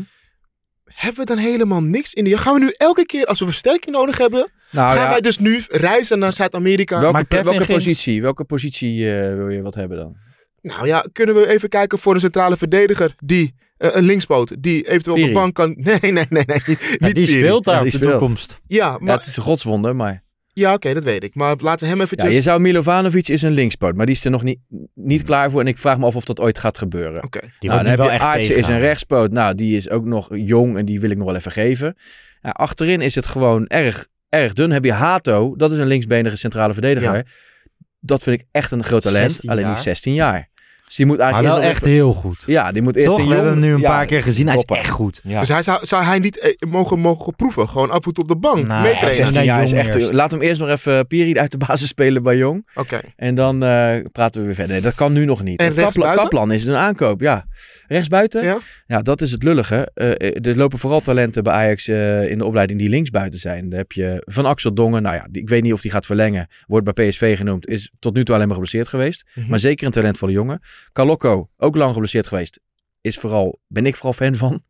F: Hebben we dan helemaal niks in de... Gaan we nu elke keer, als we versterking nodig hebben...
E: Nou,
F: gaan
E: ja,
F: wij dus nu reizen naar Zuid-Amerika?
E: welke,
D: Maar Kevin
E: welke
D: ging-
E: positie, welke positie eh, wil je wat hebben dan?
F: Nou ja, kunnen we even kijken voor een centrale verdediger die... eh, een linkspoot die eventueel op de
E: Piri.
F: bank kan... [laughs] Nee, nee, nee, nee. Niet,
D: Ja,
F: niet
D: die
F: Piri.
D: speelt daar
E: Ja,
D: op
E: die
D: de
E: speelt.
D: toekomst.
F: Ja,
E: ja,
F: maar,
E: het is een godswonde, maar...
F: ja oké, dat weet ik. Maar laten we hem
E: Ja,
F: eventjes...
E: je zou Milovanovic is een linkspoot, maar die is er nog niet, niet klaar voor. En ik vraag me af of dat ooit gaat gebeuren.
F: Oké.
D: Hmm. Die
E: nou,
D: wordt
E: dan
D: nu
E: heb
D: wel
E: je
D: echt
E: Aartsen is
D: tegenhouden.
E: een rechtspoot. Nou, die is ook nog jong en die wil ik nog wel even geven. Ja, achterin is het gewoon erg, erg dun. Heb je Hato, dat is een linksbenige centrale verdediger. Dat vind ik echt een groot talent.
D: 16
E: Alleen die
D: jaar.
E: is 16 jaar. Dus die moet
D: Maar
E: eigenlijk
D: wel
E: eerst
D: echt
E: nog
D: heel goed.
E: even- Ja, die moet eerst
D: Toch?
E: een
D: We hebben
E: jong-
D: hem nu een
E: ja,
D: paar keer gezien. Hij is
E: topper.
D: echt goed.
E: Ja.
F: Dus hij zou, zou hij niet eh, mogen, mogen proeven? Gewoon af en toe op de bank
D: Nou,
E: Ja,
F: meetrainen?
E: 16 jaar is
D: jong
E: echt...
D: eerst.
E: Laat hem eerst nog even Piri uit de basis spelen bij Jong.
F: Oké.
E: En dan eh, praten we weer verder. Nee, dat kan nu nog niet.
F: En
E: Kapla-
F: rechtsbuiten?
E: Kaplan is een aankoop, ja. Rechtsbuiten?
F: Ja.
E: Ja, dat is het lullige. Eh, er lopen vooral talenten bij Ajax eh, in de opleiding die linksbuiten zijn. Dan heb je Van Axel Dongen. Nou ja, die, ik weet niet of die gaat verlengen. Wordt bij PSV genoemd. Is tot nu toe alleen maar geblesseerd geweest.
F: Mhm.
E: Maar zeker een talentvolle jongen. Calocco, ook lang geblesseerd geweest. Is vooral, ben ik vooral fan van.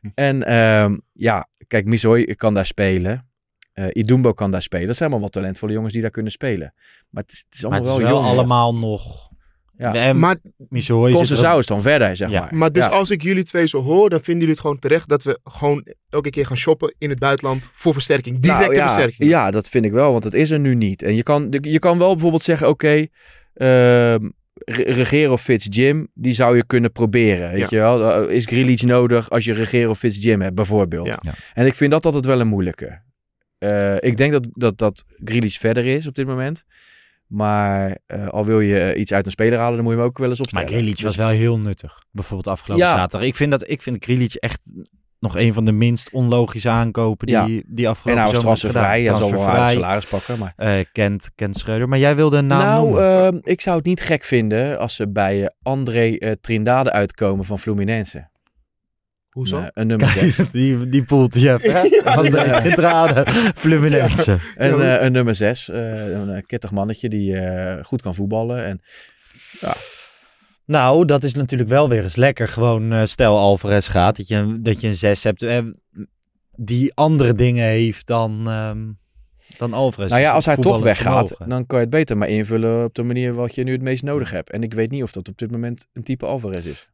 D: Hm.
E: En ehm, ja, kijk, Misoi kan daar spelen. Eh Idumbo kan daar spelen. Dat zijn allemaal wat talentvolle jongens die daar kunnen spelen. Maar het, is- het is
D: Maar
E: allemaal
D: het is
E: wel
D: wel
E: jong.
D: allemaal nog...
E: Ja.
D: En
F: Maar,
D: Michel is
E: Consensau is dan verder, zeg
D: Ja.
E: maar.
F: maar dus
E: Ja.
F: als ik jullie twee zo hoor, dan vinden jullie het gewoon terecht dat we gewoon elke keer gaan shoppen in het buitenland voor versterking.
E: Nou,
F: Directe
E: ja,
F: versterking.
E: Ja, dat vind ik wel, want het is er nu niet. En je kan, je kan wel bijvoorbeeld zeggen, oké, ehm Re- Regero Fitz Jim, die zou je kunnen proberen. Weet
F: Ja.
E: je wel? Eh, Is Grealish nodig als je Regero Fitz Jim hebt, bijvoorbeeld?
F: Ja.
D: Ja.
E: En ik vind dat altijd wel een moeilijke. Eh, ik denk dat, dat, dat Grealish verder is op dit moment. Maar eh, al wil je eh, iets uit een speler halen, dan moet je hem ook wel eens opstellen.
D: Maar Grealish was wel heel nuttig. Bijvoorbeeld afgelopen
E: Ja.
D: zaterdag. Ik vind, dat, ik vind Grealish echt nog een van de minst onlogische aankopen die, die
E: En
D: afgelopen
E: nou is
D: zomer is
E: transfervrij, hij
D: gedaan.
E: zal wel een aardig
D: Transfervrij.
E: salaris pakken, maar...
D: Eh, kent, kent Schreuder. Maar jij wilde een naam
E: Nou,
D: noemen.
E: ehm, ik zou het niet gek vinden als ze bij eh, André eh, Trindade uitkomen van Fluminense.
F: Hoezo?
E: Een, eh, een nummer 6.
D: [laughs] die, die poelt je hebt, hè? Van de
E: [laughs] Ja. [laughs]
D: Gentrade, Fluminense.
E: Een,
F: Ja,
E: eh, een nummer 6. een eh, kittig mannetje die eh, goed kan voetballen. En,
D: Nou, dat is natuurlijk wel weer eens lekker. Gewoon, eh, stel Alvarez gaat, dat je, een- dat je een 6 hebt eh, die andere dingen heeft dan, ehm, dan Alvarez.
E: nou ja,
D: Dus
E: als hij toch
D: voetballend
E: weggaat, nou-
D: vermogen.
E: dan kan je het beter maar invullen op de manier wat je nu het meest nodig hebt. En ik weet niet of dat op dit moment een type Alvarez is.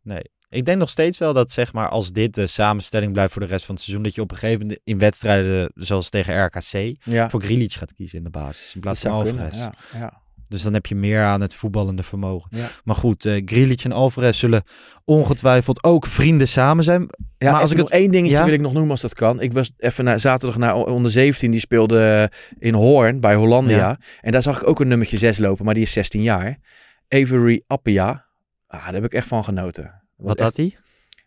D: Ik denk nog steeds wel dat, zeg maar, als dit de samenstelling blijft voor de rest van het seizoen, dat je op een gegeven moment in wedstrijden zoals tegen RKC
E: Ja,
D: voor Grealish gaat kiezen in de basis in
E: dat
D: plaats van
E: zou
D: Alvarez.
E: kunnen. Ja, ja.
D: Dus dan heb je meer aan het voetballende vermogen.
E: Ja.
D: Maar goed, eh Grealish en Alvarez zullen ongetwijfeld ook vrienden samen zijn.
E: Ja,
D: Maar als
E: even
D: ik het-
E: nog één dingetje
D: Ja?
E: wil ik nog noemen als dat kan. Ik was even na, zaterdag naar o- onder 17, die speelde eh, in Hoorn bij Hollandia.
D: Ja.
E: En daar zag ik ook een nummertje 6 lopen, maar die is 16 jaar. Avery Appia. Ah, daar heb ik echt van genoten. Was
D: Wat
E: echt-
D: had hij?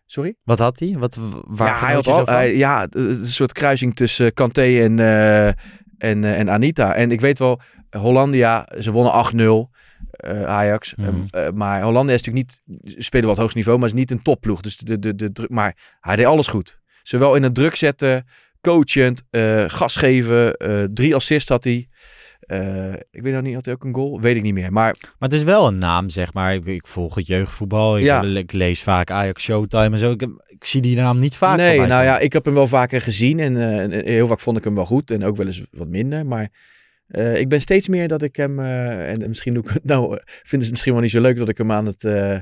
E: Sorry?
D: Wat had hij? Wat, waar
E: ja, hij
D: genoot
E: had
D: je zo
E: al,
D: van?
E: hij- ja, eh, een soort kruising tussen Kanté en, eh, en, eh, en Anita. En ik weet wel, Hollandia, ze wonnen 8-0. eh, Ajax. Eh,
D: Mhm.
E: eh, maar Hollandia is natuurlijk niet, spelen wat hoogst niveau, maar is niet een topploeg. Dus de, de, de druk, maar hij deed alles goed. Zowel in het druk zetten, coachend, eh, gas geven, eh, drie assists had hij. Eh, ik weet nog niet, had hij ook een goal? Weet ik niet meer. Maar
D: Maar het is wel een naam, zeg maar. Ik, ik volg het jeugdvoetbal. Ik,
E: Ja.
D: ik lees vaak Ajax Showtime en zo. Ik, ik zie die naam niet vaak
E: nee,
D: voorbij
E: nou
D: komen.
E: ja, ik heb hem wel vaker gezien en eh, en heel vaak vond ik hem wel goed en ook wel eens wat minder. Maar Eh, ik ben steeds meer dat ik hem, eh, en misschien doe ik het [laughs] nou, eh, vinden ze het misschien wel niet zo leuk dat ik hem aan het, eh,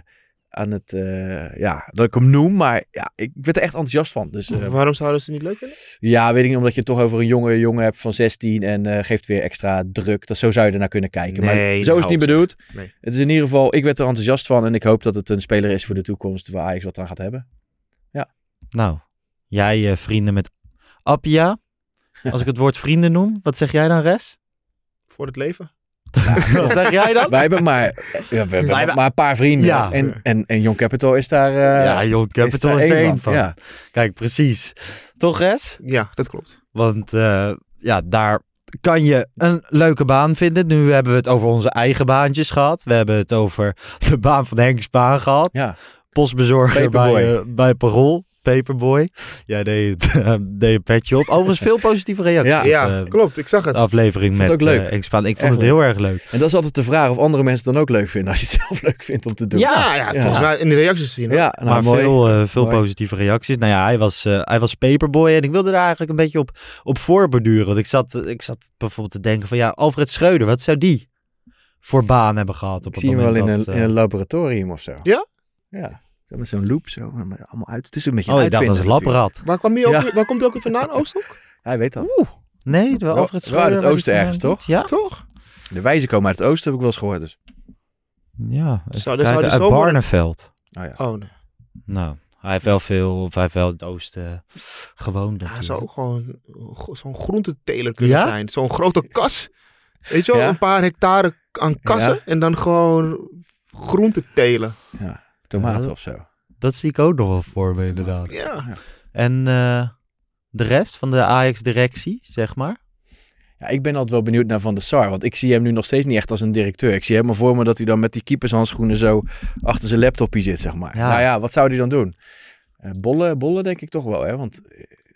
E: aan het eh, ja, dat ik hem noem, maar ja, ik werd er echt enthousiast van. Dus eh,
F: Waarom zouden ze het niet leuk vinden?
E: ja, weet ik niet, omdat je het toch over een jonge jongen hebt van 16 en eh, geeft weer extra druk. Dat, zo zou je ernaar kunnen kijken. maar
F: Nee,
E: zo is het
F: nou,
E: niet bedoeld.
F: nee.
E: Het is in ieder geval, ik werd er enthousiast van en ik hoop dat het een speler is voor de toekomst waar Ajax wat aan gaat hebben.
D: Nou, jij eh, vrienden met Appia. Als ik het woord vrienden noem, wat zeg jij dan, [laughs] Res?
F: Voor het leven?
D: Wat zeg jij dan?
E: Wij hebben maar, ja, we hebben
D: Wij hebben-
E: maar een paar vrienden
D: Ja.
E: en, en, en Young Capital is daar... eh,
D: Ja, joh, ik heb
E: is
D: het
E: daar
D: al eens
E: één
D: één van.
E: Ja.
D: Kijk, precies. Toch, Res?
F: Ja, dat klopt.
D: Want eh, ja, daar kan je een leuke baan vinden. Nu hebben we het over onze eigen baantjes gehad. We hebben het over de baan van Henk Spaan gehad.
E: Ja.
D: Postbezorger bij,
E: Paperboy.
D: eh, bij Parool. Paperboy. Ja, deed, het, [laughs] eh, deed een petje op. Overigens veel positieve reacties
E: Ja.
D: op
F: ja,
D: eh,
F: klopt. Ik zag het.
D: de aflevering
E: Vond
D: met
E: het ook leuk.
D: eh, Henk Spaan. Ik vond
E: Echt
D: het heel erg leuk.
E: En dat is altijd de vraag of andere mensen het dan ook leuk vinden als je het [laughs] zelf leuk vindt om te doen.
F: Ja, ja,
E: Ja.
F: volgens mij in de reacties te zien. hoor.
E: Ja, nou,
D: maar
E: mooi.
D: veel, eh, veel
E: Mooi.
D: positieve reacties. Nou ja, hij was, eh, hij was paperboy en ik wilde daar eigenlijk een beetje op, op voorborduren. Want ik zat, ik zat bijvoorbeeld te denken van ja, Alfred Schreuder, wat zou die voor baan hebben gehad? Op
E: Ik
D: het
E: zie hem wel
D: moment
E: in een,
D: dat, eh,
E: in een laboratorium of zo.
F: Ja?
E: Ja. Zo Met zo'n loop zo. en Allemaal uit. Het is een beetje
D: Oh,
E: een
D: ik dacht dat is een
E: uitvinder
D: labrat.
F: Waar, kwam die ook,
E: Ja.
F: weer- waar komt die ook weer vandaan, Oostok?
E: natuurlijk. Hij weet dat.
D: Nee, de Alfred
E: Wel- wel uit
D: Schreuder.
E: het
D: waar die
E: oosten
D: vandaan
E: ergens, toch?
D: komt? Ja.
F: [laughs] Toch?
E: De wijzen komen uit het oosten, heb ik wel eens gehoord. Dus.
D: Ja,
F: Zou-
D: even
F: zou
D: kijken,
F: die
D: uit
F: zo worden?
D: Barneveld.
E: Oh ja.
F: Oh, nee.
D: Nou, hij heeft wel veel, of hij heeft wel in het oosten eh, gewoond
F: Ja,
D: natuurlijk.
F: zou ook gewoon go- zo'n groenteteler kunnen
D: Ja?
F: zijn. Zo'n grote kas. Weet je wel,
E: Ja.
F: een paar hectare aan kassen. En dan gewoon groentetelen.
E: Tomaten
D: Ja.
E: of zo.
D: Dat zie ik ook nog wel voor me inderdaad.
F: Ja.
D: En eh, de rest van de Ajax-directie, zeg maar?
E: Ja, ik ben altijd wel benieuwd naar Van der Sar. Want ik zie hem nu nog steeds niet echt als een directeur. Ik zie helemaal voor me dat hij dan met die keepershandschoenen zo achter zijn laptopje zit, zeg maar.
D: Ja.
E: Nou ja, wat zou hij dan doen? Eh, bollen, bollen denk ik toch wel, hè? Want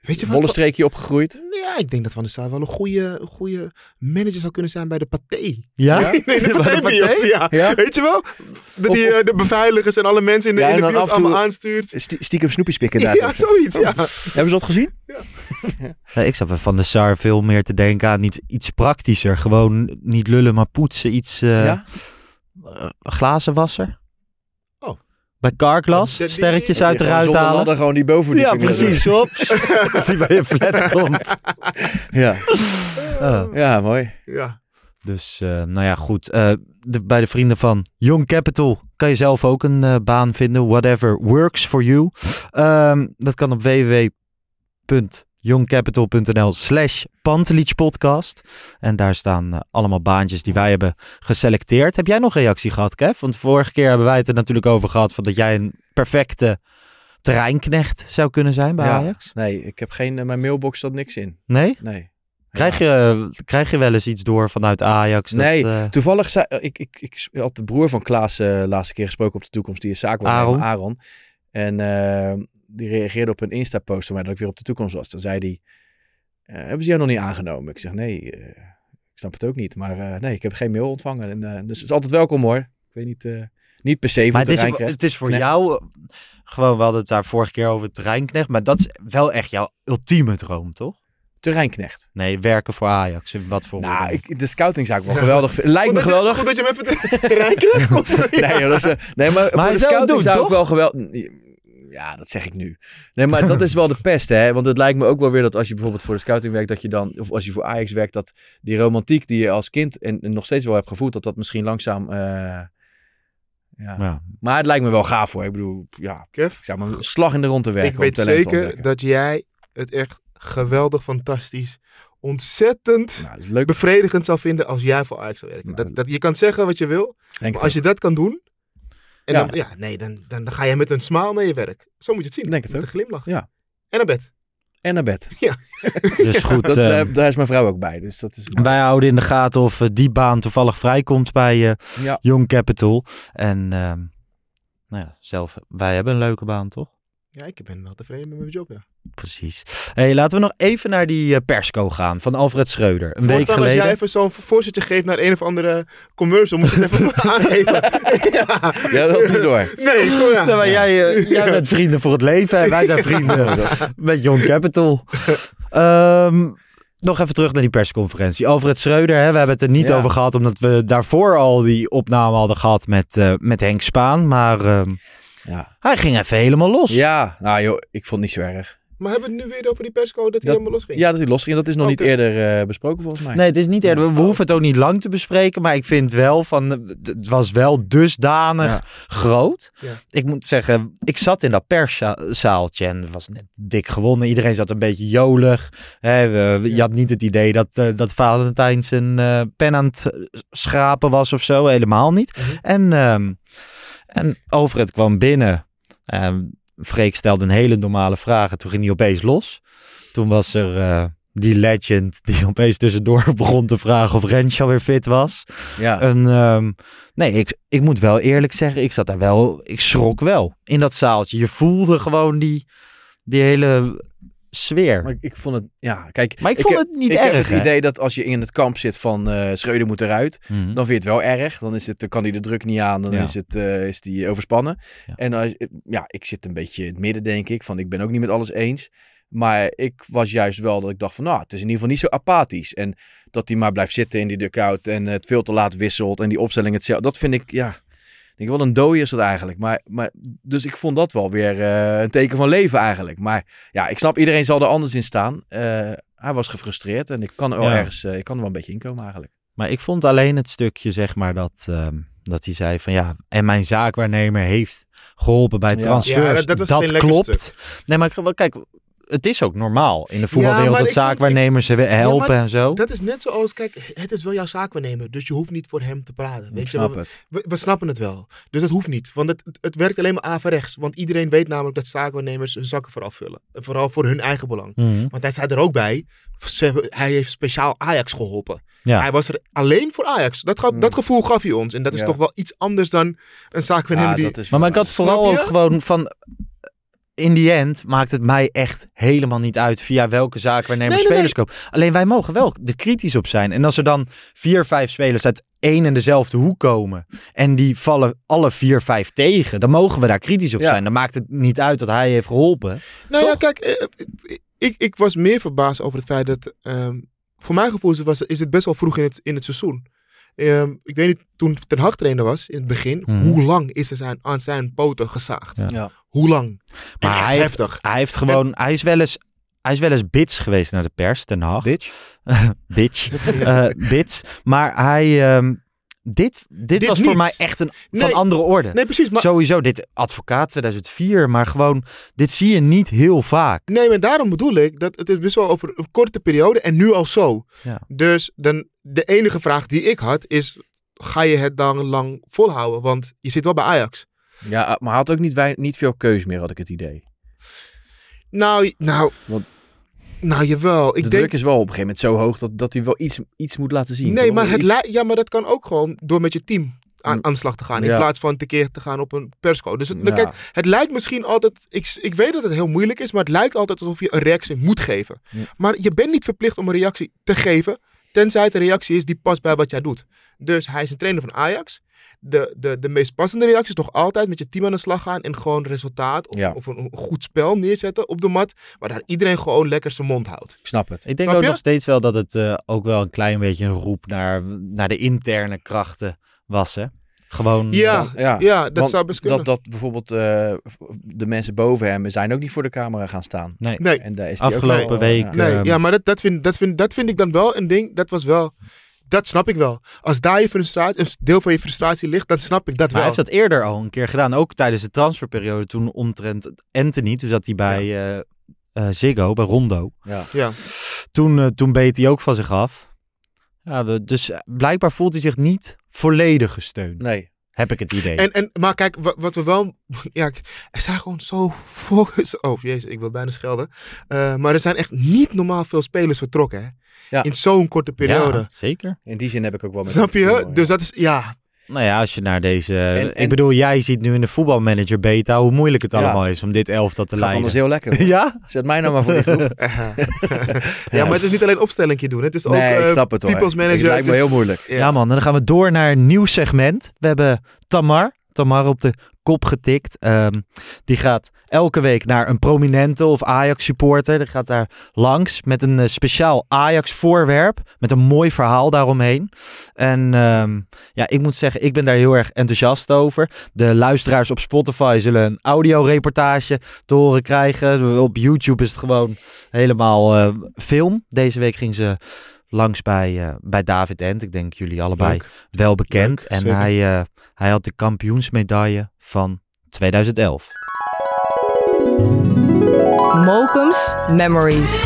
F: Weet je
E: bollen
F: wat?
E: streekje opgegroeid.
F: Nou Ja, ik denk dat Van der Sar wel een goede, een goede manager zou kunnen zijn bij de Pathé.
D: Ja?
E: [laughs]
F: Nee, de
D: Bij de
F: Pathé-bios,
D: Pathé?
F: ja.
E: Ja.
F: Weet je wel? Dat
E: Of-
F: hij eh, de beveiligers en alle mensen in de,
E: Ja,
F: in de
E: en dan
F: bios
E: af en toe-
F: allemaal aanstuurt.
E: Stie- stiekem snoepjes pikken daar.
F: Ja, zoiets,
E: [laughs]
F: ja.
E: Hebben ze dat gezien?
D: Ja, ik zat bij Van der Sar veel meer te denken aan iets, iets praktischer. Gewoon niet lullen, maar poetsen. Iets eh
E: Ja.
D: eh, glazenwasser.
F: Oh.
D: Bij Carglass,
F: Dat- die-
D: sterretjes
E: Dat
D: uit
E: die
D: eruit
E: zonder
D: halen.
E: ladder gewoon die boven
D: Ja, precies. Hops. Dat die bij je flat komt.
E: Ja.
D: Ah.
E: ja, mooi.
F: Ja.
D: Dus, eh, nou ja, goed. Eh, de, bij de vrienden van Young Capital kan je zelf ook een eh, baan vinden. Whatever works for you. Ehm, dat kan op www.youngcapital.nl slash podcast. En daar staan eh, allemaal baantjes die wij hebben geselecteerd. Heb jij nog reactie gehad, Kev? Want vorige keer hebben wij het er natuurlijk over gehad... Van dat jij een perfecte terreinknecht zou kunnen zijn bij
E: Ja.
D: Ajax.
E: Nee, ik heb geen, eh, mijn mailbox zat niks in.
D: Nee?
E: Nee.
D: Krijg je, krijg je wel eens iets door vanuit Ajax? Dat,
E: Nee,
D: eh,
E: Toevallig zei ik, ik, ik had de broer van Klaas eh laatste keer gesproken op de toekomst, die is zaak Aaron.
D: Aaron.
E: Aaron. En eh, die reageerde op een Insta-post van mij dat ik weer op de toekomst was. Toen zei hij, eh, hebben ze jou nog niet aangenomen? Ik zeg, nee, eh, ik snap het ook niet. Maar eh, nee, ik heb geen mail ontvangen. En, eh, dus het is altijd welkom hoor. Ik weet niet, eh, niet per se van
D: Maar het is,
E: terrein
D: ook-
E: krijgt.
D: het is voor
E: Nee.
D: jou, eh, gewoon, we hadden het daar vorige keer over Treinknecht, maar dat is wel echt jouw ultieme droom, toch?
E: Terreinknecht.
D: Nee, werken voor Ajax, in wat voor
E: Nou,
D: orde.
E: ik, de scoutingzaak wel geweldig. vind- Lijkt me
F: Goed dat je-
E: geweldig.
F: Goed dat je hem even te rijken
E: [laughs]
F: [laughs]
E: Nee, joh, dat is, eh, nee, maar, voor
D: hij zou
E: de
D: het
E: scouting
D: doen,
E: zou ik
D: toch?
E: wel geweldig... Ja, dat zeg ik nu. Nee, maar dat is wel de pest, hè. Want het lijkt me ook wel weer dat als je bijvoorbeeld voor de scouting werkt, dat je dan... Of als je voor Ajax werkt, dat die romantiek die je als kind en, en nog steeds wel hebt gevoeld, dat dat misschien langzaam... eh, ja.
D: Ja.
E: Maar het lijkt me wel gaaf, hoor. Ik bedoel, ja,
F: Kev?
E: ik zou maar een slag in de rond te werken
F: Ik
E: om
F: weet
E: talent te
F: zeker
E: ontdekken.
F: dat jij het echt geweldig, fantastisch, ontzettend
E: Nou, dat is leuk.
F: bevredigend zou vinden als jij voor Ajax zou werken.
E: Nou,
F: Dat, dat, je kan zeggen wat je wil,
E: Denk
F: maar
E: het
F: als je dat kan doen, en
E: Ja.
F: Dan, ja, nee, dan, dan, dan ga je met een smile naar je werk. Zo moet je het zien.
E: Denk het
F: met
E: ook.
F: een glimlach.
E: Ja.
F: En naar bed.
E: ook. En naar bed.
D: Dus goed,
E: [laughs] Dat,
D: eh,
E: daar, daar is mijn vrouw ook bij, dus dat is...
D: wij houden in de gaten of eh, die baan toevallig vrijkomt bij eh,
E: Ja.
D: Young Capital. En ehm, nou ja, zelf, wij hebben een leuke baan, toch?
F: Ja, ik ben wel tevreden met mijn job, ja.
D: Precies. Hey, laten we nog even naar die eh, persco gaan van Alfred Schreuder. Een week
F: Voortaan als
D: geleden.
F: jij even zo'n voorzetje geeft naar een of andere commercial, moet je het even [laughs] aangeven. ja.
E: Ja, dat had ik niet door.
F: Nee, kom
E: Oh,
F: ja.
D: Nou, maar jij,
E: [laughs]
D: eh, jij bent
E: [laughs]
D: vrienden voor het leven en wij zijn vrienden met Young Capital. Ehm, Nog even terug naar die persconferentie. Alfred Schreuder, hè, we hebben het er niet
E: Ja.
D: over gehad, omdat we daarvoor al die opname hadden gehad met, eh, met Henk Spaan. Maar ehm,
E: Ja.
D: hij ging even helemaal los.
E: ja, nou joh, ik vond het niet zo erg.
F: Maar hebben we het nu weer over die persco dat hij
E: Dat-
F: helemaal losging?
E: Ja, dat hij losging. Dat is nog
F: Oh,
E: niet
F: oké.
E: eerder eh, besproken volgens mij.
D: Nee, het is niet erg. We, we hoeven het ook niet lang te bespreken. Maar ik vind wel van. eh, Het was wel dusdanig
E: Ja.
D: groot.
F: Ja.
D: Ik moet zeggen, ik zat in dat perszaaltje en het was net dik gewonnen. Iedereen zat een beetje jolig. Hè, we- we- je had niet het idee dat, eh, dat Valentijn zijn eh, pen aan het schrapen was of zo. Helemaal niet. En, ehm en over het kwam binnen. Ehm, Freek stelde een hele normale vraag en toen ging hij opeens los. Toen was er. eh, die legend die [laughs] opeens tussendoor begon te vragen of Renshaw weer fit was.
E: Ja.
D: En, ehm, nee, ik, ik moet wel eerlijk zeggen, ik zat daar wel, ik schrok wel in dat zaaltje. Je voelde gewoon die, die hele sfeer.
E: Maar ik, ik vond het, ja, kijk.
D: Maar ik vond
E: heb-
D: het niet
E: ik heb
D: erg, hè?
E: het idee dat als je in het kamp zit van eh Schreuder moet eruit,
D: Mhm.
E: dan vind je het wel erg. Dan, is het, dan kan hij de druk niet aan, dan
D: Ja.
E: is, het, eh, is die overspannen.
D: Ja.
E: En als, eh, ja, ik zit een beetje in het midden, denk ik, van ik ben ook niet met alles eens. Maar ik was juist wel dat ik dacht van, nou, het is in ieder geval niet zo apathisch. En dat hij maar blijft zitten in die dugout en het veel te laat wisselt en die opstelling hetzelfde. Dat vind ik, ja, ik denk wel een dooi is dat eigenlijk. Maar, maar, dus ik vond dat wel weer eh, een teken van leven eigenlijk. Maar ja, ik snap, iedereen zal er anders in staan. Eh, hij was gefrustreerd en ik kan er wel
D: Ja.
E: ergens, eh, ik kan er wel een beetje in komen eigenlijk.
D: Maar ik vond alleen het stukje, zeg maar, dat, ehm, dat hij zei van ja, en mijn zaakwaarnemer heeft geholpen bij
E: Ja.
D: transfers.
F: Ja, dat-
D: dat
F: dat was het lekker
D: klopt. Nee, maar ik- kijk, het is ook normaal in de voetbalwereld
F: maar
D: dat
F: ik vond-
D: zaakwaarnemers helpen en zo.
F: Dat is net zoals, kijk, het is wel jouw zaakwaarnemer, dus je hoeft niet voor hem te praten. Weet
E: Ik
F: je,
E: snap
F: we,
E: het.
F: we, we snappen het wel. Dus dat hoeft niet, want het, het werkt alleen maar averechts. Want iedereen weet namelijk dat zaakwaarnemers hun zakken vooral vullen. Eh, Vooral voor hun eigen belang.
D: Mhm.
F: Want hij zei er ook bij, ze hebben- hij heeft speciaal Ajax geholpen.
D: Ja. Hmm.
F: Hij was er alleen voor Ajax. Dat, gaf-
E: Mm.
F: dat gevoel gaf hij ons. En dat is
E: Ja.
F: toch wel iets anders dan een zaakwaarnemer
E: Ja,
F: die...
E: Ah, dat is
D: Maar, maar ik
E: waar.
D: had vooral
F: je?
D: ook gewoon van... In die end maakt het mij echt helemaal niet uit via welke zaak wij nemen
F: Nee, nee,
D: spelers kopen. Alleen wij mogen wel er kritisch op zijn. En als er dan vier, vijf spelers uit één en dezelfde hoek komen. En die vallen alle vier, vijf tegen. Dan mogen we daar kritisch op
E: Ja.
D: zijn. Dan maakt het niet uit dat hij heeft geholpen.
F: Nou ja,
D: Toch?
F: kijk, eh, ik, ik was meer verbaasd over het feit dat, ehm, voor mijn gevoel is het, was, is het best wel vroeg in het, in het seizoen. Ehm, ik weet niet, toen Ten Hag trainer was, in het begin,
D: Mhm.
F: hoe lang is er zijn, aan zijn poten gezaagd?
D: Ja.
E: Ja.
F: Hoe lang? En
D: Maar
F: echt
D: hij heeft,
F: heftig.
D: hij heeft gewoon... Hij is wel eens... Hij is wel eens bits geweest naar de pers, Den Haag.
E: Bitch.
D: [laughs] Bitch. Eh, bits. Maar hij... ehm, dit, dit,
F: Dit
D: was
F: niet.
D: voor mij echt een van
F: Nee.
D: andere orde.
F: Nee, precies. Maar,
D: Sowieso, dit advocaat 2004, maar gewoon, dit zie je niet heel vaak.
F: nee, maar daarom bedoel ik dat het is best wel over een korte periode en nu al zo.
D: Ja.
F: Dus dan, de enige vraag die ik had is, ga je het dan lang volhouden? Want je zit wel bij Ajax.
E: Ja, ah, maar hij had ook niet, wei- niet veel keus meer, had ik het idee.
F: Nou, nou,
E: Want-
F: nou jawel. Ik
E: de
F: denk,
E: druk is wel op een gegeven moment zo hoog dat, dat hij wel iets, iets moet laten zien.
F: Nee,
E: toch?
F: maar, het
E: Iets-
F: lij- ja, maar dat kan ook gewoon door met je team aan,
E: Mm.
F: aan de slag te gaan. In
E: Ja.
F: plaats van tekeer te gaan op een persco. Dus het,
E: Ja.
F: kijk, het lijkt misschien altijd... Ik, ik weet dat het heel moeilijk is, maar het lijkt altijd alsof je een reactie moet geven.
E: Ja.
F: Maar je bent niet verplicht om een reactie te geven... tenzij het een reactie is die past bij wat jij doet. Dus hij is een trainer van Ajax. De, de, de meest passende reactie is toch altijd met je team aan de slag gaan... en gewoon resultaat of,
E: Ja.
F: of een, een goed spel neerzetten op de mat... waar iedereen gewoon lekker zijn mond houdt.
E: Ik snap het.
D: Ik denk
F: Snap
D: ook
F: je?
D: nog steeds wel dat het eh, ook wel een klein beetje een roep naar, naar de interne krachten was, hè? Gewoon... eh,
F: Ja,
E: Mm. Ja,
F: ja, dat
E: want
F: zou best kunnen.
E: dat, dat bijvoorbeeld eh, de mensen boven hem zijn ook niet voor de camera gaan staan.
D: Nee.
F: Nee.
E: En daar is die ook
D: Afgelopen
E: wel, eh,
D: week...
E: ja.
F: Nee,
D: ehm,
F: ja, maar dat, dat, vind, dat, vind, dat vind ik dan wel een ding. Dat was wel. Dat snap ik wel. Als daar je frustratie, een deel van je frustratie ligt, dan snap ik dat
D: Maar hij
F: wel.
D: heeft dat eerder al een keer gedaan. Ook tijdens de transferperiode toen omtrent Anthony. Toen zat hij bij eh, eh, Ziggo, bij Rondo.
E: Ja.
F: Ja.
D: Toen, eh, toen beet hij ook van zich af. Ja, we- dus eh, blijkbaar voelt hij zich niet volledig gesteund.
E: Nee.
D: Heb ik het idee.
F: En, en, maar kijk, wa- wat we wel. [laughs] Ja, k- er zijn gewoon zo focus. Oh jezus, ik wil bijna schelden. Eh, maar er zijn echt niet normaal veel spelers vertrokken. Hè?
E: Ja.
F: In zo'n korte periode.
D: Ja, zeker.
E: In die zin heb ik ook wel met
F: Snap
E: hem te
F: je?
E: doen,
F: Dus
E: ja.
F: dat is. Ja. [laughs]
D: Nou ja, als je naar deze...
E: En- en-
D: Ik bedoel, jij ziet nu in de voetbalmanager beta hoe moeilijk het
E: Ja.
D: allemaal is om dit elftal te
E: Het gaat anders
D: leiden.
E: heel
D: [laughs]
E: lekker. hoor.
D: Ja?
E: Zet mij nou maar voor die [laughs] groep.
F: ja, maar het is niet alleen opstellingje doen. Het is ook.
E: nee, ik
F: eh,
E: snap het hoor.
F: people's manager,
E: Het lijkt me
F: dus-
E: heel moeilijk.
F: ja.
D: Ja man, en dan gaan we door naar een nieuw segment. We hebben Tamar. Tamar op de kop getikt. Ehm, die gaat elke week naar een prominente of Ajax supporter. Die gaat daar langs met een eh, speciaal Ajax voorwerp. Met een mooi verhaal daaromheen. En ehm, ja, ik moet zeggen, ik ben daar heel erg enthousiast over. De luisteraars op Spotify zullen een audioreportage te horen krijgen. Op YouTube is het gewoon helemaal eh, film. Deze week ging ze langs bij, eh, bij David Ent. Ik denk jullie allebei
F: Leuk.
D: wel bekend.
F: Leuk,
D: en
F: zeker.
D: hij, eh, hij had de kampioensmedaille van 2011.
G: Mokums Memories.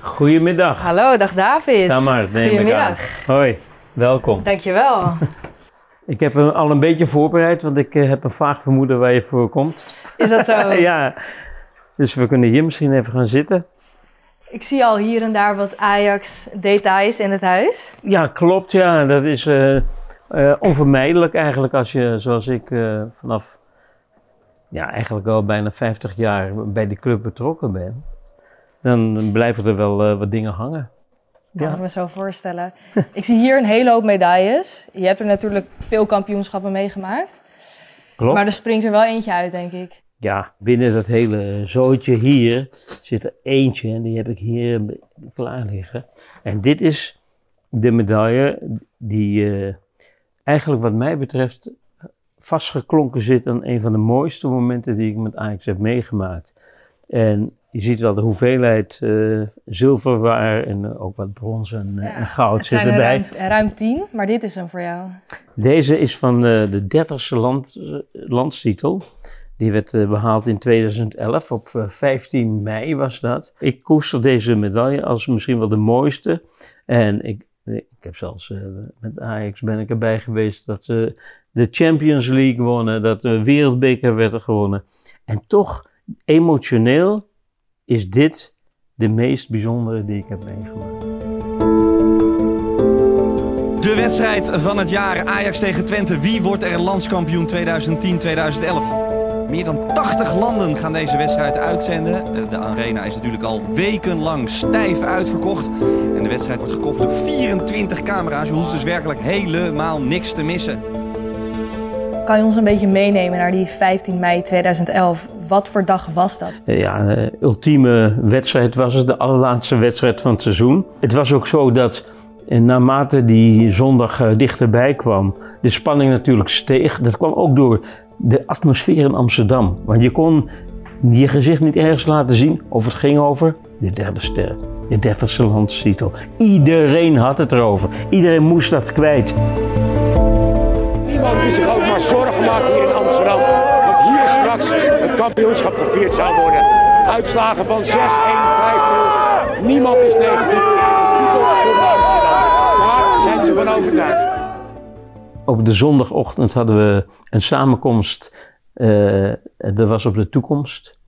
H: Goedemiddag,
G: Hallo, dag David.
H: Tamar, neem ik aan.
G: Goedemiddag.
H: Hoi, welkom.
G: Dankjewel.
H: Ik heb eh, al een beetje voorbereid, want ik eh, heb een vaag vermoeden waar je voor komt.
G: Is
H: [laughs]
G: dat zo?
H: Ja, dus we kunnen hier misschien even gaan zitten.
G: Ik zie al hier en daar wat Ajax details in het huis.
H: Ja, klopt, ja. Dat is eh, eh, onvermijdelijk eigenlijk als je, zoals ik, eh, vanaf ja, eigenlijk al bijna 50 jaar bij die club betrokken ben. Dan blijven er wel eh, wat dingen hangen.
G: Kan
H: Ja.
G: ik me zo voorstellen. [laughs] Ik zie hier een hele hoop medailles. Je hebt er natuurlijk veel kampioenschappen meegemaakt.
H: Klopt. Oh,
G: Maar er springt er wel eentje uit, denk ik.
H: Ja, binnen dat hele zootje hier zit er eentje en die heb ik hier klaar liggen. En dit is de medaille die eh, eigenlijk wat mij betreft vastgeklonken zit aan een van de mooiste momenten die ik met Ajax heb meegemaakt. En je ziet wel de hoeveelheid eh, zilverwaar en eh, ook wat brons en, eh, en goud
G: Het zijn
H: zit
G: er
H: erbij.
G: ruim, ruim tien, maar dit is hem voor jou.
H: Deze is van eh, de 30ste land, eh, landstitel. Die werd eh, behaald in 2011, op eh, 15 mei was dat. Ik koester deze medaille als misschien wel de mooiste. En ik, ik heb zelfs eh, met Ajax ben ik erbij geweest dat ze de Champions League wonnen, dat de wereldbeker werd er gewonnen. En toch, emotioneel, is dit de meest bijzondere die ik heb meegemaakt.
B: De wedstrijd van het jaar Ajax tegen Twente. Wie wordt er landskampioen 2010-2011? Meer dan 80 landen gaan deze wedstrijd uitzenden. Eh, De arena is natuurlijk al wekenlang stijf uitverkocht. En de wedstrijd wordt gekofferd door 24 camera's. Je hoeft dus werkelijk helemaal niks te missen.
G: Kan je ons een beetje meenemen naar die 15 mei 2011? Wat voor dag was dat?
H: Eh, ja, eh, ultieme wedstrijd was het, de allerlaatste wedstrijd van het seizoen. Het was ook zo dat eh, naarmate die zondag eh, dichterbij kwam, de spanning natuurlijk steeg. Dat kwam ook door de atmosfeer in Amsterdam. Want je kon je gezicht niet ergens laten zien of het ging over de derde ster, de dertigste landstitel. Iedereen had het erover. Iedereen moest dat kwijt.
I: Niemand die zich ook maar zorgen maakt hier in Amsterdam. Dat hier straks het kampioenschap gevierd zou worden. Uitslagen van 6-1, 5-0. Niemand is negatief. De titel komt naar Amsterdam. Daar zijn ze van overtuigd.
H: Op de zondagochtend hadden we een samenkomst. eh, dat was op de toekomst.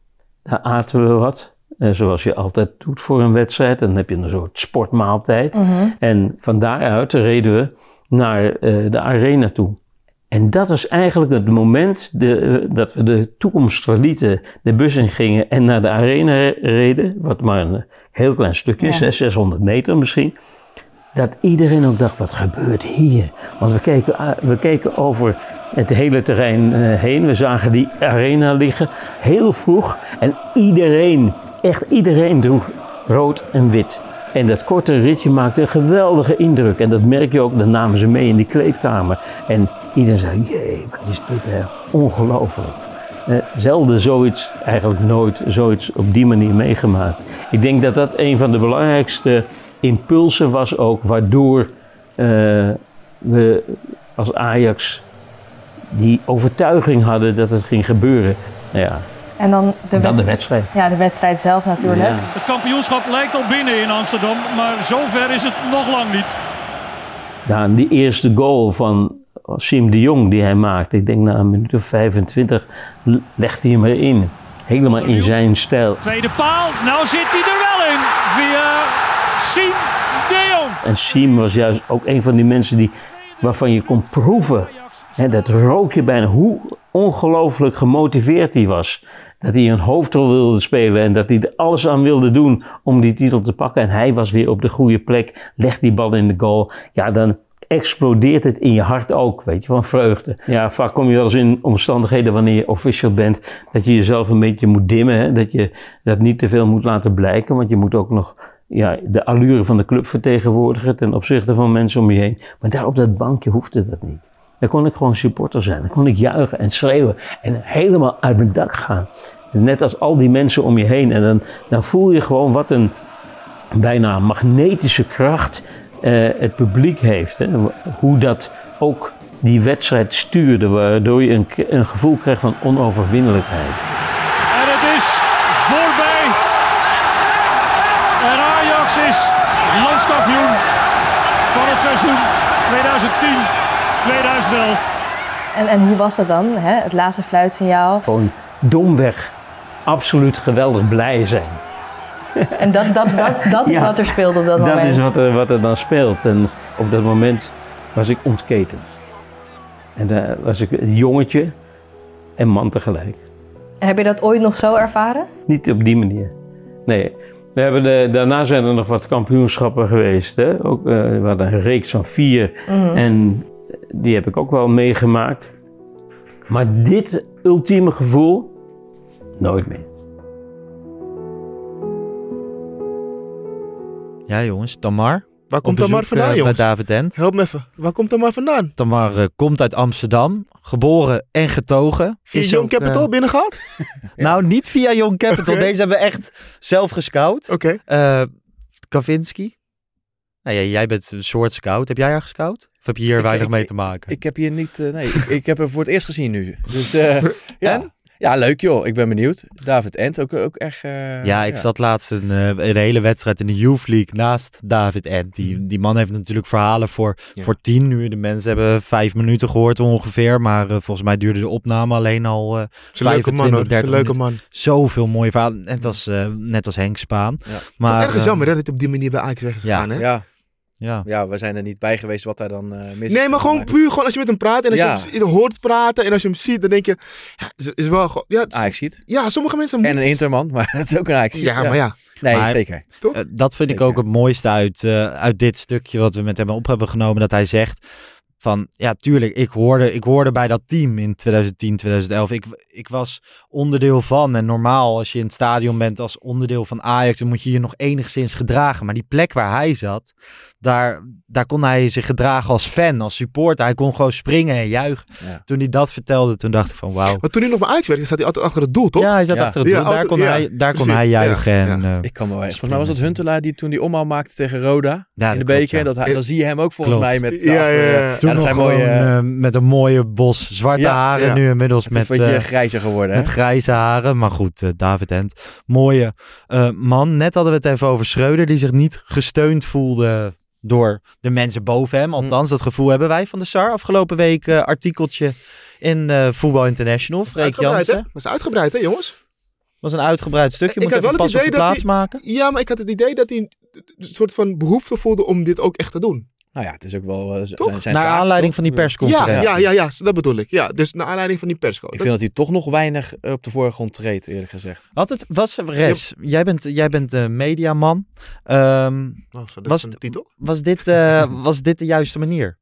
H: Daar aten we wat. eh, zoals je altijd doet voor een wedstrijd. Dan heb je een soort sportmaaltijd. En van daaruit reden we naar eh, de arena toe. En dat was eigenlijk het moment de, eh, dat we de toekomst verlieten, de bus ingingen en naar de arena re- reden, wat maar een heel klein stukje is,
G: Ja.
H: hè, 600 meter misschien. Dat iedereen ook dacht, wat gebeurt hier? Want we keken, a- we keken over het hele terrein eh, heen, we zagen die arena liggen, heel vroeg. En iedereen, echt iedereen droeg rood en wit. En dat korte ritje maakte een geweldige indruk. En dat merk je ook, dat namen ze mee in die kleedkamer. En iedereen zei, jee, wat is dit hè? Ongelooflijk. Eh, zelden zoiets, eigenlijk nooit zoiets op die manier meegemaakt. Ik denk dat dat een van de belangrijkste impulsen was ook, waardoor eh, we als Ajax die overtuiging hadden dat het ging gebeuren. Nou ja,
G: En dan de,
H: dan de
G: wed-
H: wedstrijd.
G: ja, de wedstrijd zelf natuurlijk.
H: Ja.
A: Het kampioenschap lijkt al binnen in Amsterdam, maar zover is het nog lang niet.
H: Ja, die eerste goal van Siem de Jong die hij maakte, ik denk na een minuut of 25, l- legde hij hem erin. Helemaal in zijn stijl.
A: Tweede paal, nou zit hij er wel in. Via Siem de Jong.
H: En Siem was juist Dus ook een van die mensen die, waarvan je kon proeven. Hè, dat rook je bijna. eh, Hoe ongelooflijk gemotiveerd hij was. Dat hij een hoofdrol wilde spelen en dat hij er alles aan wilde doen om die titel te pakken. En hij was weer op de goede plek. Legt die bal in de goal. Ja, dan explodeert het in je hart ook, weet je, van vreugde. Ja, vaak kom je wel eens in omstandigheden wanneer je official bent, dat je jezelf een beetje moet dimmen, hè? dat je dat niet te veel moet laten blijken, want je moet ook nog ja, de allure van de club vertegenwoordigen ten opzichte van mensen om je heen. Maar daar op dat bankje hoefde dat niet. Daar kon ik gewoon supporter zijn, daar kon ik juichen en schreeuwen en helemaal uit mijn dak gaan. Net als al die mensen om je heen. En dan, dan voel je gewoon wat een bijna magnetische kracht eh, het publiek heeft. Hè? Hoe dat ook die wedstrijd stuurde, waardoor je een, een gevoel krijgt van onoverwinnelijkheid.
A: En het is voorbij. En Ajax is landskampioen van het seizoen 2010-2011.
G: En, en hoe was dat dan? Hè? Het laatste fluitsignaal.
H: Gewoon domweg absoluut geweldig blij zijn.
G: [laughs] En dat, dat, dat, dat is
H: Ja.
G: wat er speelde op dat,
H: Dat
G: moment.
H: is wat er, wat er dan speelt. En op dat moment was ik ontketend. En daar was ik een jongetje en man tegelijk.
G: En heb je dat ooit nog zo ervaren?
H: Niet op die manier. Nee. We hebben de- daarna zijn er nog wat kampioenschappen geweest. Hè? Ook, eh, we hadden een reeks van vier.
J: Mhm.
H: En die heb ik ook wel meegemaakt. Maar dit ultieme gevoel, nooit meer.
D: Ja, jongens, Tamar.
F: Waar
D: Op
F: komt Tamar
D: bezoek,
F: vandaan,
D: eh,
F: jongens?
D: Bij David Dent.
F: Help me even. Waar komt Tamar vandaan?
D: Tamar eh, komt uit Amsterdam, geboren en getogen.
F: Via Young
D: ook, eh,
F: Capital binnengehaald?
D: Nou, niet via Young Capital.
F: Oké.
D: Deze hebben we echt zelf gescout.
F: Oké.
D: Kavinski. Nou ja, jij bent een soort scout. Heb jij haar gescout? Of heb je hier weinig mee te maken?
E: Ik heb hier niet, eh, nee, ik, ik heb hem voor het eerst gezien nu. Dus
F: [laughs]
E: eh, ja. ja, leuk joh. Ik ben benieuwd. David Ent ook, ook echt. eh,
D: ja, ik zat laatst een, eh, een hele wedstrijd in de Youth League naast David Ent. Die, die man heeft natuurlijk verhalen voor, voor tien uur. De mensen hebben vijf minuten gehoord ongeveer. Maar eh, volgens mij duurde de opname alleen al eh
F: een leuke
D: 25,
F: man, hoor. Is een
D: 30
F: leuke
D: minuten.
F: man.
D: Zoveel mooie verhalen. Net als, eh, net als Henk Spaan.
F: Maar,
D: Maar,
F: ergens
D: eh,
F: jammer hè, dat het op die manier bij Ajax weg is
D: ja.
F: gegaan, hè?
E: Ja.
D: Ja.
E: ja, we zijn er niet bij geweest wat daar dan eh mis is
F: Nee, maar gewoon
E: gegaan.
F: puur gewoon als je met hem praat en als
E: Ja.
F: je hem z- hoort praten en als je hem ziet, dan denk je, ja, is, is wel gewoon... Ja, het is-
E: Ah, ik zie het.
F: ja, sommige mensen...
E: En een Interman, [laughs] maar dat is ook een Ajax.
F: Ja, maar ja.
E: Nee,
D: Maar-
E: zeker.
D: Eh, dat vind ik ook het mooiste uit, eh, uit dit stukje wat we met hem op hebben genomen. Dat hij zegt van, ja tuurlijk, ik hoorde, ik hoorde bij dat team in 2010, 2011. Ik, ik was onderdeel van. En normaal als je in het stadion bent als onderdeel van Ajax, dan moet je je nog enigszins gedragen. Maar die plek waar hij zat, daar, daar kon hij zich gedragen als fan, als supporter. Hij kon gewoon springen en juichen. Toen hij dat vertelde, toen dacht ik van wauw.
F: Maar toen hij nog bij Ajax werkte, zat hij altijd achter het doel, toch?
D: Ja, hij zat achter het doel. Daar kon hij- daar kon hij juichen en, eh,
E: Ik kan me wel- Volgens mij was dat Huntelaar die toen die omhaal maakte tegen Roda
D: Ja,
E: in de
D: dat klopt,
E: beker.
D: ja.
E: Dat, hij- dan zie je hem ook volgens
D: Klopt.
E: mij met de
D: Ja,
E: achter-
D: ja, ja. Toen
E: dat
D: nog
E: zijn mooie...
D: gewoon, eh, met een mooie bos zwarte
E: Ja,
D: haren.
E: ja.
D: Nu inmiddels
E: Het is
D: met...
E: een beetje
D: eh,
E: grijzer geworden, hè?
D: Met grijze haren. Maar goed, eh, David Hent. Mooie eh, man. Net hadden we het even over Schreuder. Die zich niet gesteund voelde door de mensen boven
E: Mm.
D: hem. Althans, dat gevoel hebben wij van de SAR. Afgelopen week eh, artikeltje in eh Voetbal International. Freek
F: Uitgebreid, hè?
D: Jansen.
F: Was uitgebreid, hè, jongens?
D: was een uitgebreid stukje. Moet je even pas op de plaats maken.
F: Ja, maar ik had het idee dat hij een soort van behoefte voelde om dit ook echt te doen.
E: Nou ja, het is ook wel eh, z-
F: Toch?
E: zijn, zijn
D: Naar
E: taak,
D: aanleiding
E: toch?
D: van die
F: Ja,
D: persconferentie.
F: ja, ja, ja, s- dat bedoel ik. Ja, dus naar aanleiding van die persco.
E: Ik vind dat hij toch nog weinig eh, op de voorgrond treedt, eerlijk gezegd.
D: Wat het was, Res, jij bent, jij bent de mediaman. Ehm,
F: Oh, dat
D: was,
F: is een
D: het-
F: titel?
D: Was, dit,
E: [laughs]
D: eh, was dit de juiste manier?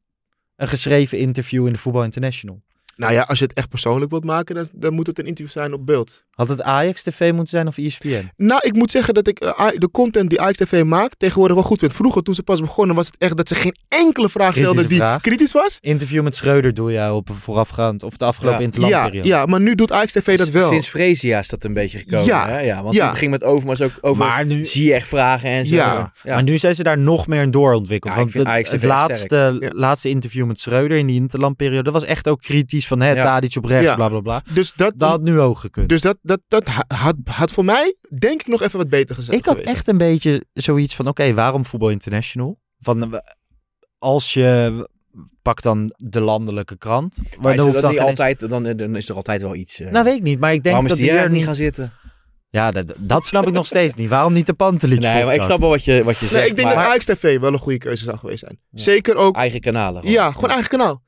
D: Een geschreven interview in de Voetbal International.
F: Nou ja, als je het echt persoonlijk wilt maken, dan, dan moet het een interview zijn op beeld.
D: Had het Ajax TV moeten zijn of E ESPN?
F: Nou, ik moet zeggen dat ik eh, Aj- de content die Ajax TV maakt tegenwoordig wel goed vind. Vroeger, toen ze pas begonnen, was het echt dat ze geen enkele vraag stelden
D: Kritische
F: die
D: vraag.
F: kritisch was.
D: Interview met Schreuder doe jij op een voorafgaand of de afgelopen
F: ja,
D: interlandperiode.
F: ja, maar nu doet Ajax TV dat wel.
E: Sinds Fresia is dat een beetje gekomen.
F: Ja,
E: hè? ja want
F: ja.
E: toen ging met Overmars ook over
D: Maar nu-
E: zie je echt vragen en zo.
D: maar nu zijn ze daar nog meer in doorontwikkeld.
E: Ja, ik
D: want
E: vind
D: het,
E: Ajax
D: het
E: echt sterk.
D: laatste, laatste interview met Schreuder in die interlandperiode, dat was echt ook kritisch van hè,
F: Ja.
D: Tadic op rechts,
F: Ja.
D: bla bla bla.
F: Dus dat,
D: dat had nu ook gekund.
F: Dus dat, dat, dat ha- had, had voor mij, denk ik, nog even wat beter gezegd.
D: Ik had echt een beetje zoiets van: oké, waarom voetbal international? Van eh, we- als je pak dan de landelijke krant.
E: Maar is
D: dan
E: dat
D: hoeft dan
E: niet
D: geen eens-
E: altijd, dan, eh, dan is er altijd wel iets. eh,
D: Nou, weet ik niet, maar ik denk
E: waarom
D: dat
E: is die
D: hier
E: er niet
D: niet-
E: gaan zitten?
D: Ja, dat, dat snap ik nog steeds niet. Waarom niet de Pantelietje?
E: Nee, maar ik snap wel wat je, wat je zegt.
F: Nee, ik denk
E: maar
F: dat Ajax TV wel een goede keuze zou geweest zijn. Zeker ook.
E: Eigen kanalen.
F: Ja, gewoon eigen kanaal.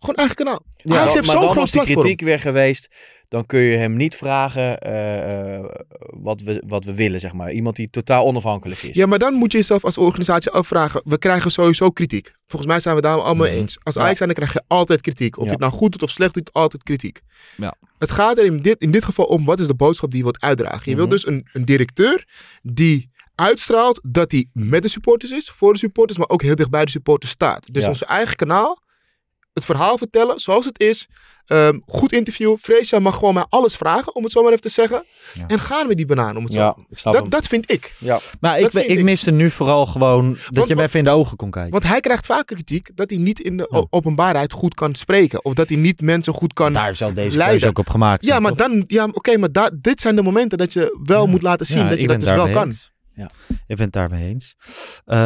F: Gewoon eigen kanaal.
E: Ja,
F: Ajax
E: maar
F: heeft
E: dan
F: zo'n groot
E: was die
F: platform.
E: kritiek weer geweest. dan kun je hem niet vragen eh, eh, wat, we, wat we willen, zeg maar. Iemand die totaal onafhankelijk is.
F: Ja, maar dan moet je jezelf als organisatie afvragen. We krijgen sowieso kritiek. Volgens mij zijn we daar allemaal eens. Als Ajax zijn, dan krijg je altijd kritiek. Of
E: Mhm. Ja.
F: je het nou goed doet of slecht doet, altijd kritiek.
B: Ja.
F: Het gaat er in dit, in dit geval om wat is de boodschap die je wilt uitdragen. Je wilt
E: Mhm.
F: dus een, een directeur die uitstraalt dat hij met de supporters is, voor de supporters, maar ook heel dicht bij de supporters staat. Dus
E: Ja.
F: onze eigen kanaal, het verhaal vertellen zoals het is. Ehm, goed interview. Freesia mag gewoon mij alles vragen, om het zo maar even te zeggen. En gaan we die banaan, om het
E: Ja,
F: zo
E: ik snap hem.
F: dat, dat vind ik.
E: Ja.
D: Maar ik,
F: Dat
D: ik,
F: vind ik.
D: miste nu vooral gewoon dat je hem even in de ogen kon kijken.
F: Want hij krijgt vaak kritiek dat hij niet in de
D: Oh.
F: o- openbaarheid goed kan spreken. Of dat hij niet mensen goed kan
D: Daar zal deze keuze
F: leiden.
D: ook op gemaakt
F: ja,
D: zijn,
F: maar
D: toch?
F: dan, ja, oké, maar da- dit zijn de momenten dat je wel moet laten zien
D: Ja,
F: dat je
D: ik
F: dat
D: ben
F: dus wel
D: daarmee
F: kan.
D: eens.
E: Ja.
D: Ik ben het daarmee eens. Ehm,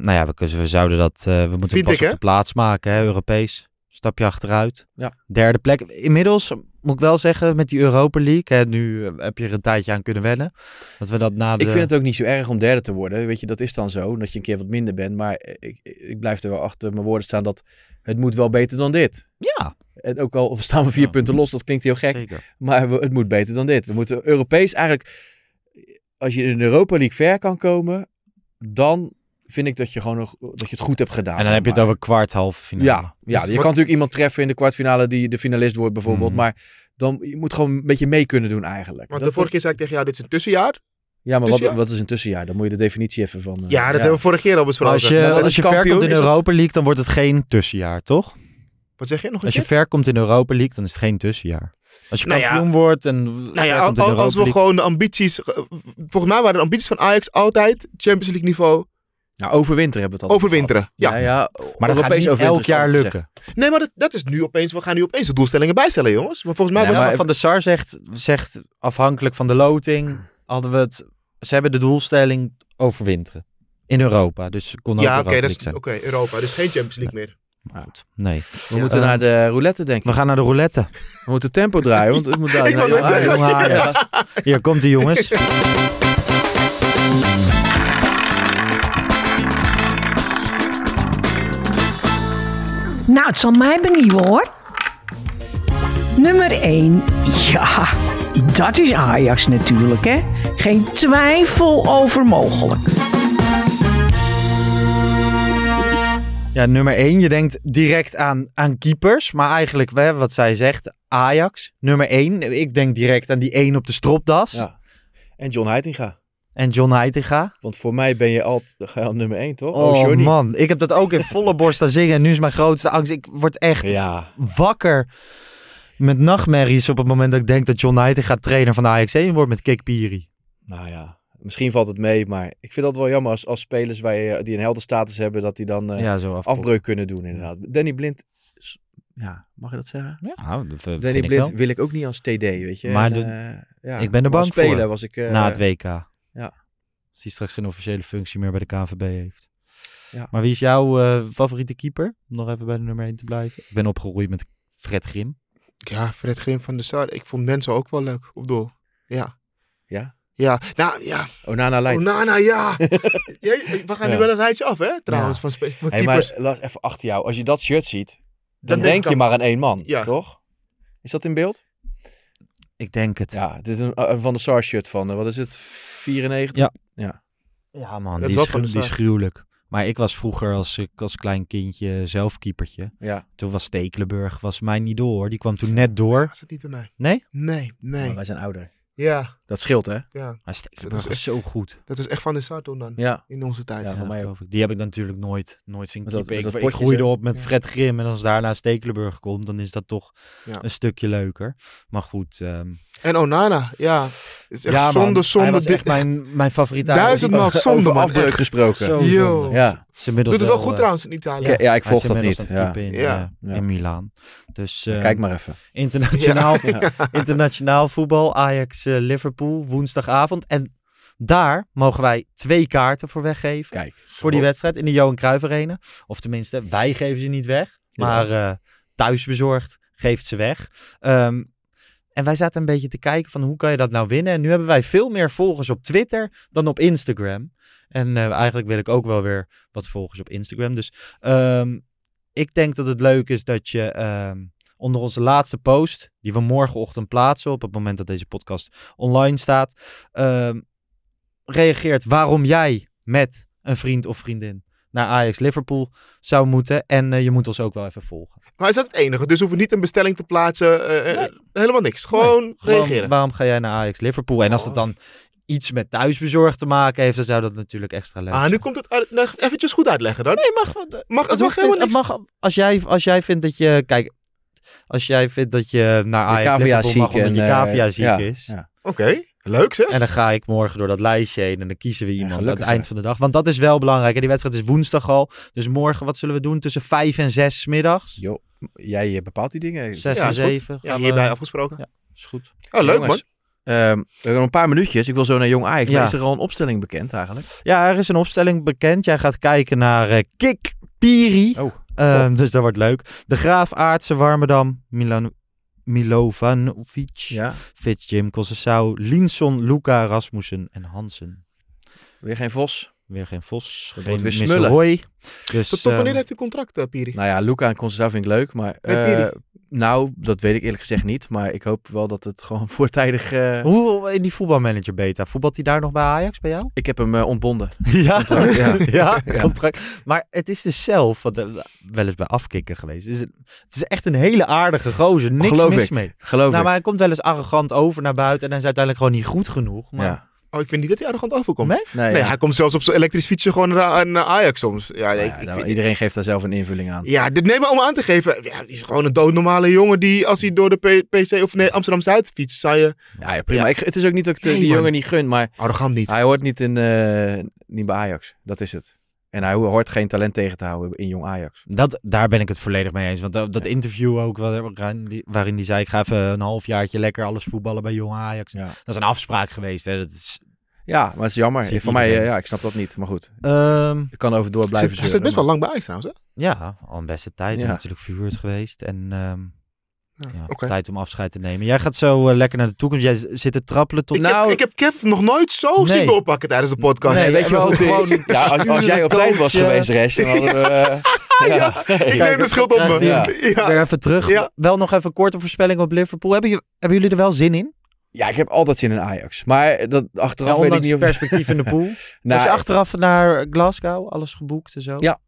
D: nou ja, we, kunnen- we zouden dat. eh, we moeten
F: Vind
D: pas
F: ik,
D: op
F: hè?
D: de plaats maken, hè, Europees. Stapje achteruit.
E: Ja.
D: Derde plek. Inmiddels moet ik wel zeggen, met die Europa League. Hè, nu eh, heb je er een tijdje aan kunnen wennen. Dat we dat na de.
E: Ik vind het ook niet zo erg om derde te worden. Weet je, dat is dan zo. Dat je een keer wat minder bent. Maar ik, ik blijf er wel achter mijn woorden staan dat het moet wel beter dan dit.
D: Ja,
E: En ook al staan we vier
D: Ja.
E: punten los, dat klinkt heel gek.
D: zeker.
E: Maar we- het moet beter dan dit. We moeten Europees eigenlijk... Als je in de Europa League ver kan komen, dan vind ik dat je gewoon nog, dat je het goed hebt gedaan.
D: En dan
E: zeg
D: heb je het
E: maar.
D: over kwart, halve finale.
E: Ja, ja je kan natuurlijk iemand treffen in de kwartfinale die de finalist wordt bijvoorbeeld.
D: Mhm.
E: Maar dan, je moet gewoon een beetje mee kunnen doen eigenlijk.
F: Want
E: Dat-
F: de vorige keer zei ik tegen jou, dit is een tussenjaar.
E: Dus ja, maar wat,
F: tussenjaar.
E: wat is een tussenjaar? Dan moet je de definitie even van... eh,
F: Ja, dat hebben we vorige keer al besproken.
D: Als je,
E: Maar als
D: als je ver
E: kampioen
D: komt in
E: is dat-
D: Europa League, dan wordt het geen tussenjaar, toch?
F: Wat zeg je nog een
D: Als je
F: keer?
D: ver komt in Europa League, dan is het geen tussenjaar. Als je
F: Nou ja.
D: kampioen wordt en
F: Nou ja,
D: ver komt in
F: al-
D: Europa
F: als we
D: League-
F: gewoon de ambities... eh, Volgens mij waren de ambities van Ajax altijd Champions League niveau
E: Nou, overwinter hebben we het al.
F: overwinteren. Ja.
E: Ja, ja.
D: Maar dat gaat
E: Europees
D: niet
E: overwinteren
D: elk
E: is altijd
D: jaar
E: gezegd.
D: lukken.
F: Nee, maar dat, dat is nu opeens... We gaan nu opeens de doelstellingen bijstellen, jongens. Want volgens mij
D: Nee,
F: was
D: maar
E: maar-
D: Van der Sar zegt, zegt, afhankelijk van de loting, hadden we het... Ze hebben de doelstelling overwinteren. In Europa, dus ze kon ook
F: Ja, oké,
D: Europa
F: dat
D: League
F: is
D: zijn.
F: oké, Europa. Dus geen Champions League meer.
D: Maar goed, nee.
E: We moeten
D: Eh,
E: naar de roulette denken.
D: We gaan naar de roulette.
E: We moeten tempo draaien, want het
F: [laughs]
E: moet dadelijk
F: ik wou
E: naar
F: net zeggen.
E: Ajax.
D: Jonge Ajax. Hier komt die
F: [laughs]
D: jongens.
J: Nou, het zal mij benieuwen hoor. Nummer 1. Ja, dat is Ajax natuurlijk, hè? Geen twijfel over mogelijk.
D: Ja, nummer 1. Je denkt direct aan, aan keepers. Maar eigenlijk, hè, wat zij zegt, Ajax. Nummer 1. Ik denk direct aan die 1 op de stropdas.
E: Ja. En John Heitinga.
D: En John Heitinga.
E: Want voor mij ben je al, ga je al nummer 1, toch?
D: Oh,
E: Johnny.
D: man, ik heb dat ook
E: [laughs]
D: in volle borst aan zingen. En nu is mijn grootste angst. Ik word echt
E: Ja.
D: wakker met nachtmerries op het moment dat ik denk dat John Heitinga trainer van de Ajax 1 wordt met Kikpiri.
E: Nou ja. Misschien valt het mee, maar ik vind dat wel jammer als, als spelers waar je, die een heldenstatus hebben, dat die dan eh,
D: ja, zo af.
E: afbreuk kunnen doen inderdaad. Danny Blind, is- ja, mag je dat zeggen?
D: Ja, dat eh, vind
E: Danny
D: ik
E: Blind
D: wel.
E: wil ik ook niet als TD, weet je.
D: Maar
E: En,
D: de-
E: eh, ja,
D: ik ben er
E: maar als
D: bang voor.
E: speler was ik... eh,
D: Na het WK.
E: ja.
D: Als hij straks geen officiële functie meer bij de KNVB heeft.
E: Ja.
D: Maar wie is jouw eh, favoriete keeper? Om nog even bij de nummer 1 te blijven. Ik ben opgeroeid met Fred Grim.
F: Ja, Fred Grim van de Sar. Ik vond mensen ook wel leuk op doel. Ja.
E: Ja?
F: Ja, nou ja.
E: Onana leidt.
F: Onana,
D: [laughs]
F: ja. ja. We gaan
E: Ja.
F: nu wel een rijtje af, hè? Trouwens,
D: Ja.
F: van, spe- van
E: Hey,
F: keepers.
E: maar Lars, even achter jou. Als je dat shirt ziet, dan,
F: denk
E: denk
F: ik
E: je
F: aan-
E: maar aan één man,
F: Ja.
E: toch? Is dat in beeld?
D: Ik denk het. Ja,
E: Ja, dit is een eh, Van de Sar shirt van, eh, wat is het, 94?
D: Ja. man, die
F: Dat is wel
D: is,
F: van de
D: gru- die is
F: zaak.
D: gruwelijk. Maar ik was vroeger als, ik als klein kindje zelf keepertje.
E: Ja.
D: Toen was Stekelenburg was mijn idool hoor. Die kwam toen net door.
F: Was het niet bij mij?
D: Nee?
F: Nee, nee.
D: Oh,
E: Maar wij zijn ouder.
F: Ja,
E: Dat scheelt, hè?
F: ja.
D: Maar Stekelenburg
F: is
D: was zo goed.
F: Dat was echt van de start toen dan.
E: Ja.
F: In onze tijd.
E: Ja.
F: Ja.
E: van mij
D: geloof ik. Die heb ik dan natuurlijk nooit, nooit zien
E: Met dat-
D: keeper.
E: met dat
D: Ik, ik
E: potje,
D: groeide
E: hè?
D: op met
F: Ja.
D: Fred Grim. En als daarna Stekelenburg komt, dan is dat toch
F: Ja.
D: een stukje leuker. Maar goed. ehm,
F: En Onana, ja. Het is echt
D: ja, man,
F: zonde,
D: Hij
F: zonde.
D: was
F: Dit,
D: echt mijn, mijn favoriet.
F: Duizendmaal
E: Over
F: zonde, man.
E: afbreuk
F: Echt.
E: gesproken.
D: Zo
F: Yo.
D: zonde.
E: Ja.
D: Is inmiddels
F: Doet het wel goed
D: eh,
F: trouwens in Italië.
E: Ja, ja, ik
D: hij
E: volg
D: is
E: dat
D: inmiddels
E: niet.
D: aan het
E: Ja.
D: keeper in,
F: Ja.
D: eh,
E: Ja.
D: in Milaan. Dus eh,
E: Kijk maar even.
D: internationaal,
F: [laughs]
D: internationaal voetbal, Ajax eh, Liverpool, woensdagavond. En daar mogen wij twee kaarten voor weggeven.
E: Kijk.
D: voor die wedstrijd in de Johan Cruijff Arena. Of tenminste, wij geven ze niet weg.
E: Ja.
D: Maar eh thuisbezorgd geeft ze weg. Ehm, en wij zaten een beetje te kijken van hoe kan je dat nou winnen. En nu hebben wij veel meer volgers op Twitter dan op Instagram. En eh, eigenlijk wil ik ook wel weer wat volgers op Instagram. Dus ehm, ik denk dat het leuk is dat je ehm, onder onze laatste post, die we morgenochtend plaatsen op het moment dat deze podcast online staat, ehm, reageert waarom jij met een vriend of vriendin naar Ajax Liverpool zou moeten. En eh, je moet ons ook wel even volgen.
F: Maar is dat het enige? Dus we hoeven niet een bestelling te plaatsen. eh, eh, Helemaal niks. Gewoon
D: Gewoon,
F: reageren. Oh.
D: waarom ga jij naar Ajax Liverpool? En als dat dan iets met thuisbezorgd te maken heeft, dan zou dat natuurlijk extra leuk
F: Ah,
D: zijn.
F: nu komt het uit, nou, eventjes goed uitleggen dan.
D: Nee, mag,
F: mag, het
D: Het
F: mag
D: hoeft
F: helemaal
D: niet- het
F: niks.
D: mag, als, jij, als jij vindt dat je... Kijk, als jij vindt dat Ah, je naar Ajax
E: cavia
D: Liverpool mag
E: ziek
D: omdat je
E: en, eh,
D: cavia ziek
E: ja,
D: is.
E: ja.
F: Oké, leuk zeg.
D: En dan ga ik morgen door dat lijstje heen en dan kiezen we iemand aan
E: gelukkig,
D: het eind
E: hè.
D: van de dag. Want dat is wel belangrijk. En die wedstrijd is woensdag al. Dus morgen, wat zullen we doen? Tussen vijf en zes 's middags?
E: Jo, jij eh, bepaalt die dingen.
D: Zes
F: Ja,
D: en
F: is goed.
D: zeven.
F: Ja,
D: gaan we-
F: hierbij afgesproken.
D: Ja, is goed.
F: Oh, leuk
E: Jongens, ehm, we hebben nog een paar minuutjes. Ik wil zo naar Jong Ajax. Maar
D: Ja.
E: is er al een opstelling bekend eigenlijk?
D: Ja, er is een opstelling bekend. Jij gaat kijken naar eh Kik Piri.
E: Oh,
D: Ehm, dus dat wordt leuk. De Graaf, Aartse, Warmerdam, Milan, Milovanovic,
E: Ja.
D: Fitz, Jim, Cossessau, Linson, Luca, Rasmussen en Hansen.
E: Weer geen Vos.
D: Weer geen Vos,
E: wordt
D: geen
E: weer smullen.
D: Misselhooi. Dus,
F: Tot, tot
D: ehm,
F: wanneer heeft u contract, eh, Piri?
E: Nou ja, Luca en Constanza vind ik leuk, maar... eh,
F: Piri.
E: nou, dat weet ik eerlijk gezegd niet. Maar ik hoop wel dat het gewoon [laughs] voortijdig... eh,
D: Hoe in die voetbalmanager beta? Voetbalt hij daar nog bij Ajax bij jou?
E: Ik heb hem eh, ontbonden.
D: Ja,
E: Contract, ja.
D: [laughs] ja,
E: Ja.
D: contract. Maar het is dus zelf, want, eh, wel eens bij afkikken geweest. Het is, een- het is echt een hele aardige gozer. Niks
E: Geloof
D: mis
E: ik.
D: mee.
E: Geloof
D: nou,
E: ik.
D: maar hij komt wel eens arrogant over naar buiten en hij is uiteindelijk gewoon niet goed genoeg. Maar
E: Ja.
F: Oh, ik vind niet dat hij arrogant overkomt.
D: Nee?
E: Nee,
F: Nee,
E: ja.
F: hij komt zelfs op zijn elektrisch fietsje gewoon naar, eh, naar Ajax soms. Ja, nee,
E: Nou
F: ik,
E: ja,
F: ik
E: nou,
F: vind-
E: iedereen geeft daar zelf een invulling aan.
F: ja dit neem maar om aan te geven. Ja, hij is gewoon een doodnormale jongen die als hij door de P- PC of nee, Amsterdam-Zuid fietst, zou je...
E: Ja, ja, prima.
F: Ja.
E: Ik, het is ook niet dat ik de-
F: Nee,
E: die
F: man.
E: jongen niet gun, maar
F: Arrogant niet.
E: hij hoort niet, in, eh, niet bij Ajax. Dat is het. En hij hoort geen talent tegen te houden in jong Ajax.
D: Dat, daar ben ik het volledig mee eens. Want dat, dat interview ook, wa- waarin die, waarin die zei... ik ga even een halfjaartje lekker alles voetballen bij Jong Ajax.
E: Ja.
D: Dat is een afspraak geweest. Hè? Dat is,
E: Ja, maar het is jammer.
D: Ziet
E: Voor mij,
D: iedereen.
E: eh, ja, ik snap dat niet. Maar goed,
D: Ehm,
E: ik kan over door blijven
F: Zit- hij
E: zeuren,
F: zit best
E: maar-
F: wel lang bij Ajax trouwens, hè?
D: ja, al een beste tijd.
E: Ja.
D: En natuurlijk verhuurd geweest. En ehm, ja,
F: oké.
D: tijd om afscheid te nemen. Jij gaat zo eh, lekker naar de toekomst. Jij z- zit te trappelen tot...
F: Ik, heb, ik heb Kev nog nooit zo zien
D: Nee.
F: doorpakken tijdens de podcast.
D: Nee,
E: Nou- Nee,
F: [laughs]
E: weet
D: we
E: je wel, hoe het is?
D: gewoon-
E: Ja, als, als jij op tijd was
D: Coach, eh,
E: geweest, rest, dan hadden we... eh, [laughs]
F: [laughs]
E: ja.
F: ik neem de schuld op me.
E: Ja.
F: Ja.
D: Weer even terug.
F: Ja.
D: Wel nog even een korte voorspelling op Liverpool. Hebben, je- hebben jullie er wel zin in?
E: Ja, ik heb altijd zin in Ajax. Maar dat, achteraf weet ik
D: ondanks
E: niet
D: het
E: of...
D: perspectief in de pool.
E: [laughs] Nou,
D: Als je achteraf naar Glasgow, alles geboekt en zo.
E: Ja,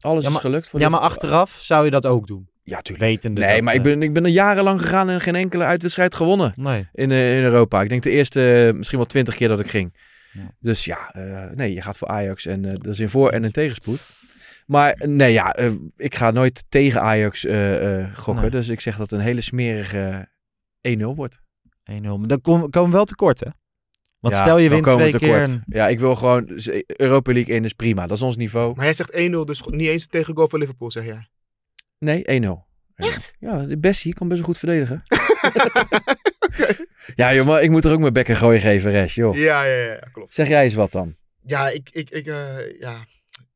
E: alles
D: Ja,
E: is
D: maar-
E: gelukt. Voor
D: Ja, maar
E: Liverpool.
D: achteraf zou je dat ook doen.
E: Ja, tuurlijk.
D: Wetende.
E: Nee,
D: dat,
E: maar ik
D: eh,
E: ben, ik ben er jarenlang gegaan en geen enkele uitwedstrijd gewonnen.
D: Nee.
E: in, eh, in Europa. Ik denk de eerste eh, misschien wel twintig keer dat ik ging.
D: Ja.
E: Dus ja, eh, nee, je gaat voor Ajax en eh, dat is in voor- en in tegenspoed. Maar eh, nee, ja, eh, ik ga nooit tegen Ajax eh, eh, gokken.
D: Nee.
E: Dus ik zeg dat het een hele smerige 1-0 wordt.
D: 1-0. Maar dan kom- komen we wel tekort, hè? Want
E: Ja,
D: stel je
E: dan
D: wint
E: komen
D: twee
E: we
D: keer...
E: tekort. [laughs]
D: en-
E: Ja, ik wil gewoon dus, Europa League in is prima. Dat is ons niveau.
F: Maar jij zegt 1-0, dus niet eens een tegengoal voor Liverpool, zeg jij.
E: Nee, 1-0. Echt? Ja, de Bessie kan best wel goed verdedigen. Ja, joh, maar ik moet er ook mijn bekken gooien geven, Res, joh.
F: Ja, ja, ja, ja, klopt.
E: Zeg jij eens wat dan?
F: Ja, ik, ik, ik, eh, ja.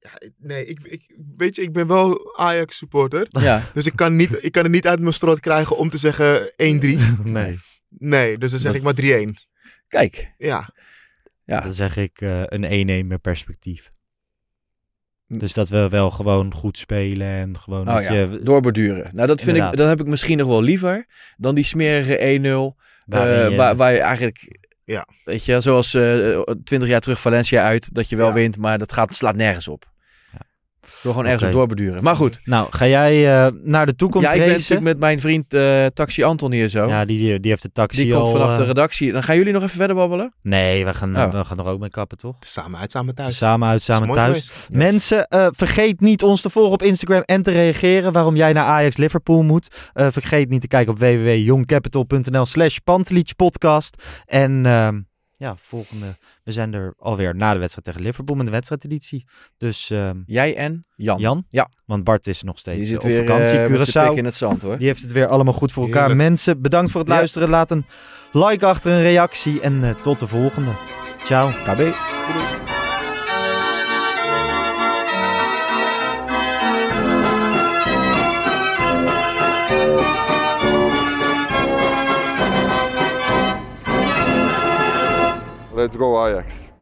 F: ja ik- nee, ik, ik, weet je, ik ben wel Ajax supporter.
D: [laughs]
E: Ja.
F: Dus ik kan, niet, ik kan het niet uit mijn strot krijgen om te zeggen 1-3.
D: Nee.
F: Nee, dus dan zeg ik maar 3-1.
E: Kijk,
F: Ja.
E: Ja.
D: Dan zeg ik eh, een 1-1 met perspectief.
E: Hm.
D: Dus dat we wel gewoon goed spelen en gewoon
E: Oh
D: dat
E: ja,
D: je...
E: doorborduren. Nou, dat, vind ik,
D: Inderdaad.
E: dat heb ik misschien nog wel liever dan die smerige 1-0.
D: waarin
E: eh,
D: je-
E: waar, waar je eigenlijk,
F: Ja.
E: weet je, zoals eh, twintig jaar terug Valencia uit, dat je wel
F: Ja.
E: wint, maar dat gaat, slaat nergens op.
D: Ja.
E: Ik wil gewoon ergens
D: Oké.
E: op doorborduren. Maar goed,
D: Nou, ga jij eh, naar de toekomst
E: ja, ik ben
D: racen?
E: natuurlijk met mijn vriend eh, Taxi Anton hier zo.
D: Ja, die, die heeft de taxi
E: die komt
D: al...
E: vanaf
D: eh,
E: de redactie. Dan gaan jullie nog even verder babbelen?
D: Nee, we gaan, eh,
E: Oh.
D: we gaan er ook mee kappen, toch?
F: Samen uit, samen thuis.
D: Samen uit, samen
F: Dat is mooi
D: thuis. Mensen, eh, vergeet niet ons te volgen op Instagram en te reageren waarom jij naar Ajax Liverpool moet. Eh, vergeet niet te kijken op www.youngcapital.nl slash Pantelietje-podcast. En ehm, ja, volgende, we zijn er alweer na de wedstrijd tegen Liverpool met de wedstrijdeditie. Dus ehm,
E: Jij en Jan.
D: Jan,
E: Ja.
D: want Bart is nog
E: Die
D: steeds
E: zit
D: eh, op
E: weer
D: vakantie,
E: eh, met zijn
D: Curaçao.
E: pik in het zand hoor.
D: Die heeft het weer allemaal goed voor elkaar.
F: Heerlijk.
D: Mensen, bedankt voor het
E: Ja.
D: luisteren. Laat een like achter, een reactie en eh, tot de volgende. Ciao.
E: KB.
K: Let's go Ajax.